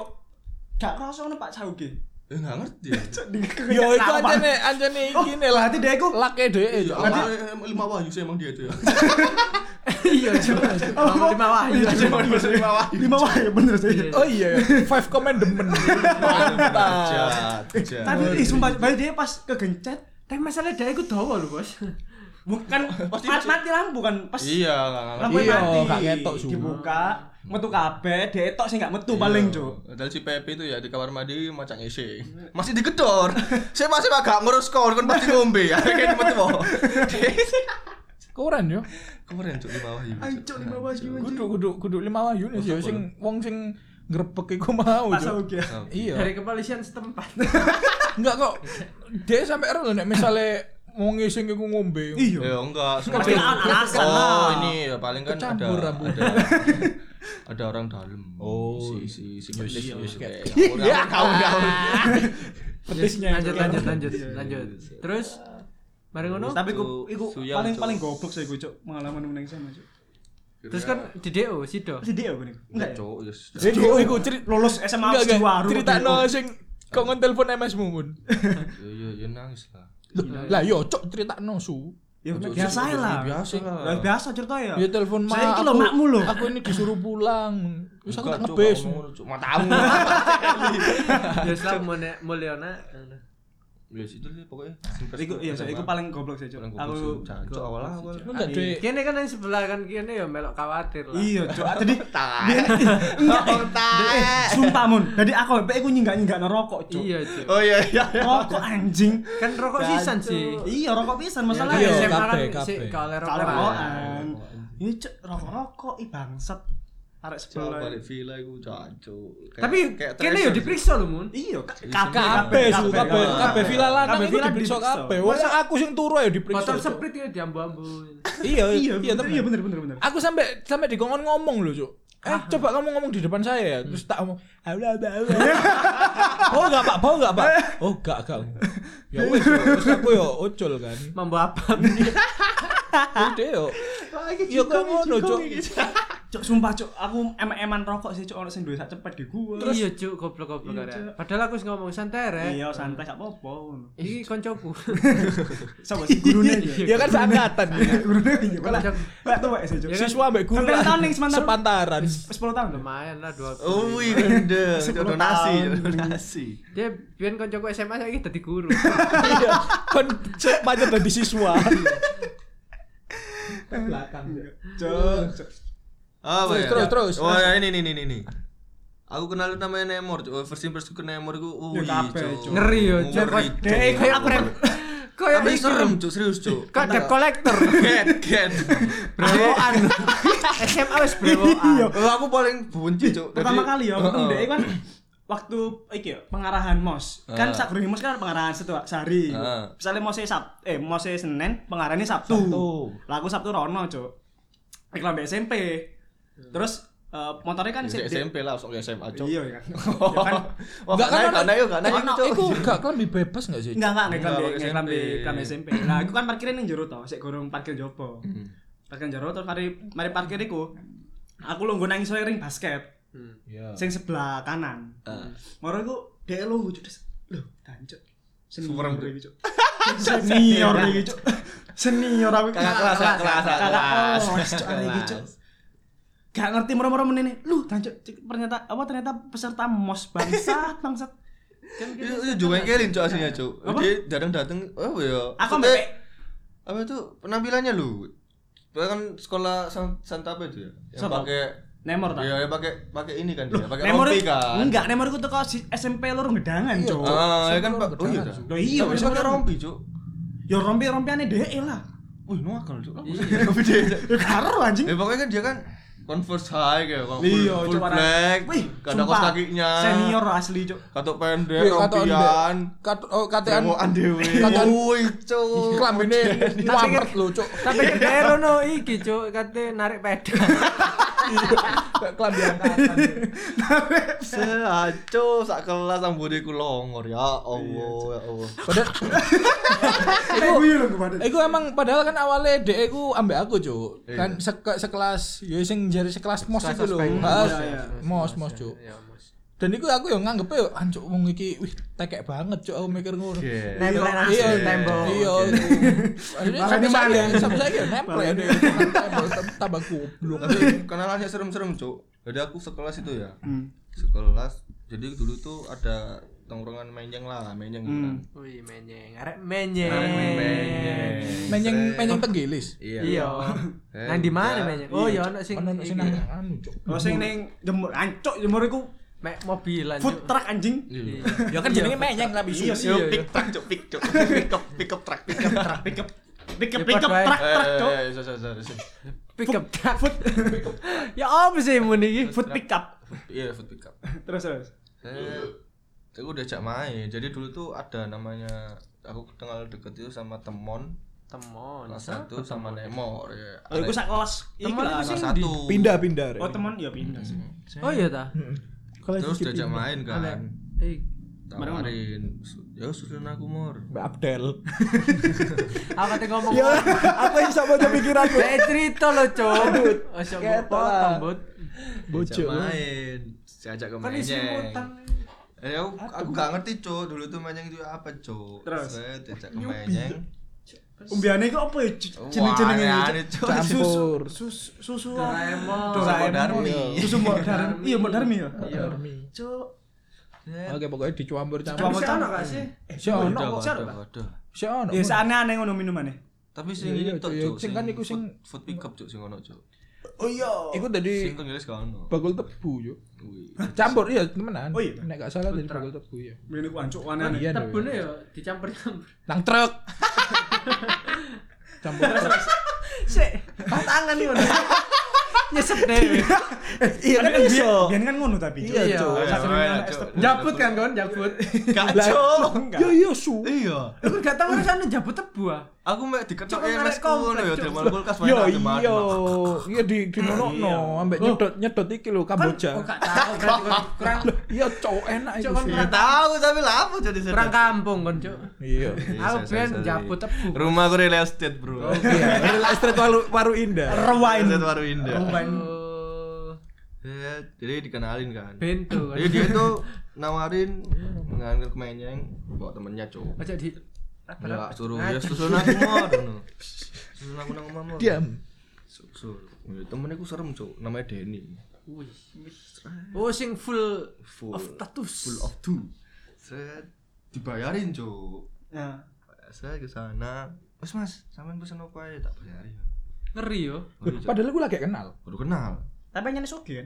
Speaker 1: gak kerasa ngono Pak Saugi.
Speaker 4: Eh, gak ngerti.
Speaker 2: Yo iku Ya, anjane anjane iki ne lah.
Speaker 1: Berarti dia iku
Speaker 2: Lake dhek. eh,
Speaker 4: Ya,
Speaker 2: Lake
Speaker 4: emang lima wahyu sih emang dia itu ya.
Speaker 3: Iya, coba.
Speaker 1: Oh,
Speaker 3: Lawang iya, lima
Speaker 1: iya,
Speaker 3: wahyu.
Speaker 4: lima wahyu.
Speaker 1: lima wah ya bener sih.
Speaker 2: Oh iya, iya. five commandment.
Speaker 4: Ah.
Speaker 2: Mantap.
Speaker 1: Tapi ih sumpah bayi dia pas kegencet
Speaker 3: Tapi masalah dia itu dawa lho, Bos.
Speaker 1: bukan
Speaker 4: Pasti-
Speaker 1: mat- mati lampu kan pas
Speaker 4: Iya, nggak ngerti.
Speaker 1: lampu
Speaker 2: Iya,
Speaker 1: mati.
Speaker 2: gak ketok, Su.
Speaker 1: Dibuka metu kabeh, dia tok sing gak metu
Speaker 4: Iya.
Speaker 1: paling, Cuk.
Speaker 4: Padahal si Pepe itu ya di kamar mandi macam ising. Masih digedor. Saya masih agak ngurus kon, kon pasti ngombe. Ya kan metu.
Speaker 2: Keren yo.
Speaker 4: Kemarin cuk lima wahyu.
Speaker 1: Ancuk lima wahyu, anjing.
Speaker 2: Kudu kudu kudu lima wahyu nih yo sing wong sing grebek iku mau.
Speaker 1: Pak
Speaker 2: Cuk.
Speaker 1: Saugi.
Speaker 2: Iya.
Speaker 3: Dari kepolisian setempat.
Speaker 2: Enggak kok. Dia sampai ero lho nek misale wong sing iku ngombe.
Speaker 1: Iya.
Speaker 4: Ya enggak,
Speaker 1: Tapi
Speaker 4: sebenarnya-
Speaker 1: alasan
Speaker 4: Oh,
Speaker 1: lah.
Speaker 4: ini ya paling kan ada
Speaker 2: Kecampur rambut.
Speaker 4: ada ada orang dalam.
Speaker 2: Oh,
Speaker 4: si si si petis
Speaker 2: iya,
Speaker 4: wis
Speaker 2: iya.
Speaker 4: kayak campur rambut, kawan-kawan.
Speaker 2: Petisnya
Speaker 3: lanjut lanjut lanjut lanjut. Terus mari ngono.
Speaker 1: Tapi iku
Speaker 4: Su-
Speaker 1: iku
Speaker 4: suyang,
Speaker 1: paling
Speaker 4: Cuk.
Speaker 1: paling goblok sih gue, Cuk. Pengalaman meneng sama, Cuk.
Speaker 3: Terus kan di DO sido.
Speaker 1: Pasti dia gue nih.
Speaker 4: Enggak,
Speaker 1: Enggak. ya?
Speaker 4: cuk, yes.
Speaker 2: Iku iku cerit
Speaker 1: Lulus SMA
Speaker 2: Enggak,
Speaker 1: di
Speaker 2: enggak.
Speaker 1: warung.
Speaker 2: Cerita no sing kok ngetelpon MS mu mun.
Speaker 4: Ya ya ya nangis lah.
Speaker 2: Lah yo cok cerita no su.
Speaker 1: Ya biasa ae lah.
Speaker 4: Biasa lah.
Speaker 1: Lah biasa cerita ya.
Speaker 2: Yo telepon mak.
Speaker 1: Saya iki lho
Speaker 2: aku-
Speaker 1: makmu lho.
Speaker 2: Aku ini disuruh pulang. Wis aku
Speaker 4: Enggak,
Speaker 2: tak
Speaker 4: Cuk,
Speaker 2: ngebes.
Speaker 4: gak ngono, Cuk. Matamu.
Speaker 3: Ya Islam Mulyana.
Speaker 4: Ya itu sih pokoknya.
Speaker 1: Iku iya, Cuk. iku paling goblok sih, Cuk. Aku
Speaker 4: jancok awal-awal.
Speaker 2: Enggak
Speaker 1: Iya.
Speaker 2: de.
Speaker 3: Kene kan yang sebelah kan kene ya melok khawatir lah.
Speaker 1: Iya, Cuk. Jadi
Speaker 4: Tae. Oh, tae.
Speaker 1: sumpah mun. Jadi aku mbek iku nyinggak-nyinggak rokok, Cuk.
Speaker 3: Iya, Cuk.
Speaker 4: Oh iya iya.
Speaker 1: Rokok anjing.
Speaker 3: Kan rokok sisan sih.
Speaker 1: Iya, rokok pisan masalah.
Speaker 3: Masalahnya
Speaker 2: Iya,
Speaker 1: Ya,
Speaker 3: SMA kan
Speaker 2: kabeh, kabeh.
Speaker 3: sik kalau rokok.
Speaker 1: rokokan. Ini cek rokok-rokok i bangsat. Arek
Speaker 4: Cuk,
Speaker 1: sebelah.
Speaker 4: balik villa iku jancok.
Speaker 3: Tapi kene ya diperiksa lho, Mun.
Speaker 1: Iya, ka-
Speaker 2: Kabeh
Speaker 1: kabeh,
Speaker 2: su kabeh kabeh villa lanang
Speaker 1: Kabeh
Speaker 2: iku
Speaker 1: villa
Speaker 2: diperiksa
Speaker 1: diperiksa.
Speaker 2: kabeh. Wong aku sing turu ayo diperiksa.
Speaker 3: Motor
Speaker 2: Cuk.
Speaker 3: seprit ya diambu-ambu.
Speaker 2: Iya
Speaker 1: Iya,
Speaker 2: iya
Speaker 1: bener,
Speaker 2: temen.
Speaker 1: iya bener bener bener.
Speaker 2: Aku sampai sampai dikongkon ngomong loh, Cuk. Eh, coba kamu ngomong di depan saya ya. Terus tak ngomong, "Aula, aula, aula." Oh, enggak, Pak. Bau enggak, Pak? Oh, enggak, enggak. Ya wis, Cuk. terus aku ya ojol kan.
Speaker 3: Mambu apa?
Speaker 2: Udah yo. Ya kok ngono, Cuk.
Speaker 1: Cuk, sumpah cuk, aku em-eman rokok sih cuk ono sing duwe sak cepet di gua.
Speaker 3: iya cuk goblok-goblok
Speaker 1: Iya,
Speaker 3: arek.
Speaker 1: Cuk.
Speaker 3: Padahal aku wis ngomong santai rek.
Speaker 4: Hmm.
Speaker 1: Iya, santai sak apa-apa ngono.
Speaker 3: Iki koncoku.
Speaker 1: Sapa sih gurune iki?
Speaker 4: Iya,
Speaker 2: Ya kan seangkatan.
Speaker 1: Gurune iki. Wala.
Speaker 3: Koncoku.
Speaker 1: Wala tuwek sih cuk.
Speaker 3: Ya kan?
Speaker 2: Siswa mbek guru.
Speaker 1: Sampai tahun ning semantan.
Speaker 2: sepantaran.
Speaker 1: Wis 10 tahun. lho.
Speaker 3: Lumayan lah dua.
Speaker 4: Oh, ini udah
Speaker 1: Sepuluh
Speaker 4: donasi,
Speaker 1: tahun.
Speaker 4: donasi.
Speaker 3: Dia biyen koncoku SMA saiki dadi guru.
Speaker 2: Iya. Kon pancet dadi siswa. Belakang.
Speaker 1: Iya. Cuk, cuk.
Speaker 4: Apa
Speaker 2: Terus,
Speaker 4: ya?
Speaker 2: terus, terus.
Speaker 4: Wah, ini ini ini ini. Aku kenal namanya Nemor, cuy. First impression ke Nemor iku wih,
Speaker 1: Ya, kabeh,
Speaker 4: cuy.
Speaker 1: cuy.
Speaker 3: Ngeri yo cuk.
Speaker 4: Oh, Ngeri,
Speaker 3: Kok-
Speaker 1: Dek,
Speaker 4: cuy.
Speaker 3: Kayak aku rem. Kayak
Speaker 4: Tapi
Speaker 3: iki,
Speaker 4: serem, cuy, serius, cuy.
Speaker 3: Kok ada kolektor.
Speaker 4: Get, get.
Speaker 3: Brewokan. SMA wis
Speaker 1: Iya.
Speaker 3: brewokan.
Speaker 4: Eh, aku paling benci, cuy.
Speaker 1: Pertama
Speaker 4: Jadi-
Speaker 1: kali ya
Speaker 4: Heeh.
Speaker 1: ketemu dhek kan waktu iki ya, pengarahan MOS. Kan
Speaker 4: Heeh.
Speaker 1: sak mos kan pengarahan satu sehari.
Speaker 4: Heeh.
Speaker 1: Misalnya MOS Sab eh MOS Senin, pengarahannya Sabtu.
Speaker 2: Sabtu.
Speaker 1: Lah aku Sabtu rono, cuk. Iku lah mbek SMP. Terus eh, motornya kan
Speaker 4: Ya,
Speaker 1: sik-
Speaker 4: SMP lah, sok SMA, cuy.
Speaker 1: Iya ya kan. Ya kan.
Speaker 4: Wah,
Speaker 2: Enggak
Speaker 4: Oh, gak naik,
Speaker 2: kan
Speaker 4: gak naik, gak naik,
Speaker 2: anak
Speaker 4: cuy.
Speaker 2: iku gak kan lebih bebas enggak sih?
Speaker 1: Enggak enggak nek
Speaker 4: Enggak,
Speaker 1: klambi nek
Speaker 4: pakai
Speaker 1: klambi
Speaker 4: SMP.
Speaker 1: klambi SMP. Lah aku kan parkirnya ning jero to, sik gorong parkir jopo.
Speaker 4: Hmm.
Speaker 1: Parkir jero terus mari mari parkir iku. Aku lungguh nang isore ring basket
Speaker 2: Iya.
Speaker 1: sing sebelah kanan.
Speaker 4: Heeh.
Speaker 1: Moro iku dhek lungguh cuk. Des. Loh, dancuk. Senior
Speaker 4: Suwereng,
Speaker 1: iki cuk. Senior iki cuk. Senior aku
Speaker 4: Kakak kelas, kakak kelas, kakak kelas.
Speaker 1: kelas Oh, cuk hari iki cuk. Gak ngerti moro-moro menene. Lu dancuk cuk, ternyata apa ternyata peserta mos bangsat bangsat. Kan
Speaker 4: Itu itu juga ngkelin cuy aslinya cuy.
Speaker 1: Apa?
Speaker 4: Dia jarang dateng. Oh ya.
Speaker 1: Aku
Speaker 4: Maksudnya,
Speaker 1: mbek
Speaker 4: apa itu penampilannya lu? Dia kan sekolah San- Santa Fe itu ya. Yang
Speaker 1: Siapa?
Speaker 4: pakai
Speaker 1: Nemor ta?
Speaker 4: Iya, yang pakai pakai ini kan dia, pakai
Speaker 1: Nemor
Speaker 4: rompi kan.
Speaker 1: enggak, Nemor itu kok si SMP loro ngedangan, Cuk.
Speaker 4: Ah, ya kan
Speaker 2: Sebelum
Speaker 4: Pak. Oh iya.
Speaker 2: berjalan,
Speaker 4: Cuk.
Speaker 2: Cuk.
Speaker 1: Loh iya, masa
Speaker 4: Tapi pakai
Speaker 1: pakai rompi.
Speaker 4: rompi, Cuk.
Speaker 1: Ya rompi-rompiane dhek lah.
Speaker 4: Wih, no akal, Cuk. Rompi dia, Cuk.
Speaker 1: Ya karo anjing.
Speaker 4: Ya pokoknya kan dia kan Converse high kayak Bang.
Speaker 1: Iya,
Speaker 4: full,
Speaker 1: Cuk,
Speaker 4: full
Speaker 1: parah.
Speaker 4: black.
Speaker 1: Wih,
Speaker 4: gak ada
Speaker 1: sumpah.
Speaker 4: kaos kakinya. Eh,
Speaker 1: Senior asli, Cuk.
Speaker 4: Katok pendek,
Speaker 2: Iya, katokan mbek-
Speaker 4: rompian.
Speaker 2: kat- oh, katean
Speaker 4: Dewoan dewe.
Speaker 2: Katokan-
Speaker 4: Wih, Cuk.
Speaker 2: klambine wapet lho, Cuk.
Speaker 3: Tapi kira no iki cuk kate narik peda.
Speaker 2: Klambi angkatan.
Speaker 4: Seaco sak kelas ambune ku longor ya Allah ya Allah.
Speaker 2: Padahal
Speaker 1: Iku yo lho kemarin.
Speaker 4: Eh,
Speaker 2: Iku emang padahal kan awalnya dek iku ambek aku cuk. Kan seke- sekelas ya sing jare sekelas mos
Speaker 3: Sekelas
Speaker 2: iku lho.
Speaker 3: ospek.
Speaker 2: Heeh.
Speaker 1: Mos, ya,
Speaker 2: Mos mos cuk.
Speaker 3: Ya Mas.
Speaker 2: Dan iku aku yo nganggep yo anjuk wong iki wih tekek banget cuk aku mikir ngono.
Speaker 4: Iya.
Speaker 3: Nempel nasi
Speaker 2: Iya,
Speaker 3: tembok.
Speaker 2: Iya. Akhirnya
Speaker 1: Makanya
Speaker 2: sampai
Speaker 1: malah.
Speaker 2: saya sampai saya yo nempel ya dek. Tembok tem- tambah goblok.
Speaker 4: Tapi kenalannya serem-serem, Cuk. Jadi aku sekelas itu ya.
Speaker 1: Hmm.
Speaker 4: Sekelas. Jadi dulu tuh ada tongkrongan menjeng lah, menjeng kan. gitu kan.
Speaker 3: Wih menyeng, arek menyeng.
Speaker 2: Menyeng menyeng tenggilis.
Speaker 4: Iya.
Speaker 3: Iya.
Speaker 4: Eh,
Speaker 3: Nang di mana
Speaker 4: iya.
Speaker 3: menyeng? Oh ya ono sing
Speaker 2: Ono sing nang
Speaker 3: iki.
Speaker 2: anu cuk.
Speaker 1: Oh sing ning jemur ancuk jemur iku
Speaker 3: mek mobilan.
Speaker 1: food
Speaker 3: Cuk.
Speaker 1: truck anjing.
Speaker 4: Iya.
Speaker 2: Ya kan jenenge menyeng tapi
Speaker 1: Iya,
Speaker 2: susu.
Speaker 1: iya,
Speaker 4: Yo pick truck, Cuk, pick Cuk. Pick up, pick up truck, pick up truck.
Speaker 1: Pick up pick up
Speaker 3: Ya,
Speaker 1: pick up
Speaker 3: padahal.
Speaker 1: truck truck, Cuk.
Speaker 4: Eh, sorry, sorry, sorry, sorry.
Speaker 3: pick up truck. ya apa sih mun iki?
Speaker 1: Food pick up.
Speaker 4: Iya, food pick up.
Speaker 1: Terus terus.
Speaker 4: Saya aku udah ajak main. Jadi dulu tuh ada namanya aku kenal deket itu sama Temon,
Speaker 3: Temon.
Speaker 4: kelas satu sama Nemor ya.
Speaker 1: Oh iku sak kelas iki lah.
Speaker 3: Temen itu
Speaker 4: kelas
Speaker 3: sing
Speaker 4: satu.
Speaker 2: Pindah-pindah. Rek.
Speaker 1: Oh temen ya pindah sih.
Speaker 3: Oh iya ta.
Speaker 4: Terus diajak main
Speaker 3: Ambek
Speaker 4: kan.
Speaker 3: eh
Speaker 4: Tawarin. Su- Ya susun aku mor.
Speaker 2: Mbak Abdel.
Speaker 3: apa teh ngomong?
Speaker 2: Iya. Ya, apa yang sama aja pikiranku?
Speaker 3: Saya cerita lo, Cuk. Ojo potong, Bud.
Speaker 4: Diajak
Speaker 2: Bocok.
Speaker 4: main. Diajak ke
Speaker 3: Kan isi
Speaker 4: menyeng.
Speaker 3: utang.
Speaker 4: Eh aku, aku gak ngerti cok dulu tuh menyeng itu apa cok.
Speaker 1: Terus?
Speaker 4: Saya diajak ke menyeng.
Speaker 1: Umbiane iku apa ya jeneng-jenenge
Speaker 4: Wah,
Speaker 1: ya,
Speaker 4: aneh
Speaker 1: Cuk?
Speaker 4: cok.
Speaker 2: Campur.
Speaker 1: Susu susu
Speaker 3: Doraemon.
Speaker 4: Mbok Darmi.
Speaker 1: Susu mbok Darmi. Iya mbok Darmi ya.
Speaker 3: Iya.
Speaker 1: Cuk.
Speaker 2: Oke, pokoknya dicampur-campur.
Speaker 1: Dicampur.
Speaker 3: Kamu tahu gak sih?
Speaker 2: Si ono
Speaker 4: Waduh,
Speaker 2: kok.
Speaker 4: waduh, waduh.
Speaker 2: Si ono.
Speaker 1: Ya seaneh-aneh ngono minumane.
Speaker 4: Tapi sing ini
Speaker 2: Iya, iya,
Speaker 4: tok
Speaker 2: Cuk, iya.
Speaker 4: cok.
Speaker 2: Sing kan iku sing-
Speaker 4: food food pickup cok sing ono cok.
Speaker 1: Oh iya.
Speaker 2: Iku tadi
Speaker 4: Sing tenggelis gak ono.
Speaker 2: bakul tebu yo.
Speaker 4: Wih.
Speaker 2: Campur iya temenan.
Speaker 1: Oh, iya.
Speaker 2: Nek gak salah tadi bakul tebu yo.
Speaker 1: Mrene ku ancuk aneh-aneh.
Speaker 2: Iya,
Speaker 3: Tebune
Speaker 2: iya.
Speaker 3: ya dicampur-campur.
Speaker 2: Nang truk. Campur.
Speaker 3: Sik, tangan iki. Nyesep deh.
Speaker 2: Iya
Speaker 1: Tapi kan biyen biyen kan ngono tapi. Cuk.
Speaker 3: Iya, Cuk.
Speaker 1: Sak jenenge
Speaker 4: Iya,
Speaker 1: anak
Speaker 4: Cuk.
Speaker 1: es tebu.
Speaker 3: Jabut kan kon, jabut.
Speaker 4: Gak
Speaker 2: Lah,
Speaker 4: cok.
Speaker 1: enggak.
Speaker 2: Yo yo su.
Speaker 4: Iya.
Speaker 3: Lu kan gak tau urusan jabut tebu ah.
Speaker 4: Aku mek diketok
Speaker 3: Cuk, ngarep
Speaker 4: MS ku
Speaker 3: komplek,
Speaker 4: ya
Speaker 3: Cuk.
Speaker 4: termal kulkas main Ya
Speaker 2: Yo
Speaker 4: tak
Speaker 3: iya.
Speaker 2: yo.
Speaker 4: dimadu.
Speaker 2: Iya di di no ambek nyedot nyedot iki lho
Speaker 3: Kan
Speaker 2: Kamboja.
Speaker 3: oh, gak tau berarti kon kurang
Speaker 2: Iya cowok enak iku.
Speaker 3: Cuk, kon
Speaker 2: sih.
Speaker 4: Gak tahu tapi lah apa jadi
Speaker 3: kurang kampung kon, Cuk.
Speaker 2: Iya.
Speaker 3: Aku ben jabut tebu. Oh,
Speaker 4: Rumah aku real estate, Bro.
Speaker 2: Iya, real estate waru, waru indah.
Speaker 1: Rewind.
Speaker 4: Real estate baru indah.
Speaker 1: Rewind.
Speaker 3: Oh,
Speaker 4: Eh, jadi dikenalin kan
Speaker 3: Bento.
Speaker 4: jadi dia tuh nawarin ngambil kemenyeng bawa temennya cowok
Speaker 3: Aja di
Speaker 4: Enggak, suruh ya susun aku mau no. susun aku nang omahmu
Speaker 2: Diam.
Speaker 4: susun Ya, temennya aku serem cowok namanya Denny
Speaker 3: Wih. Oh, sing full
Speaker 4: full
Speaker 3: of tattoos.
Speaker 4: full of two set dibayarin cowok
Speaker 1: Nah,
Speaker 4: saya ke sana mas mas sampean pesen apa ya tak bayarin
Speaker 3: Ngeri yo.
Speaker 4: Baru cok-
Speaker 2: Padahal gue lagi kenal.
Speaker 4: baru kenal
Speaker 1: tapi nyanyi sogi kan?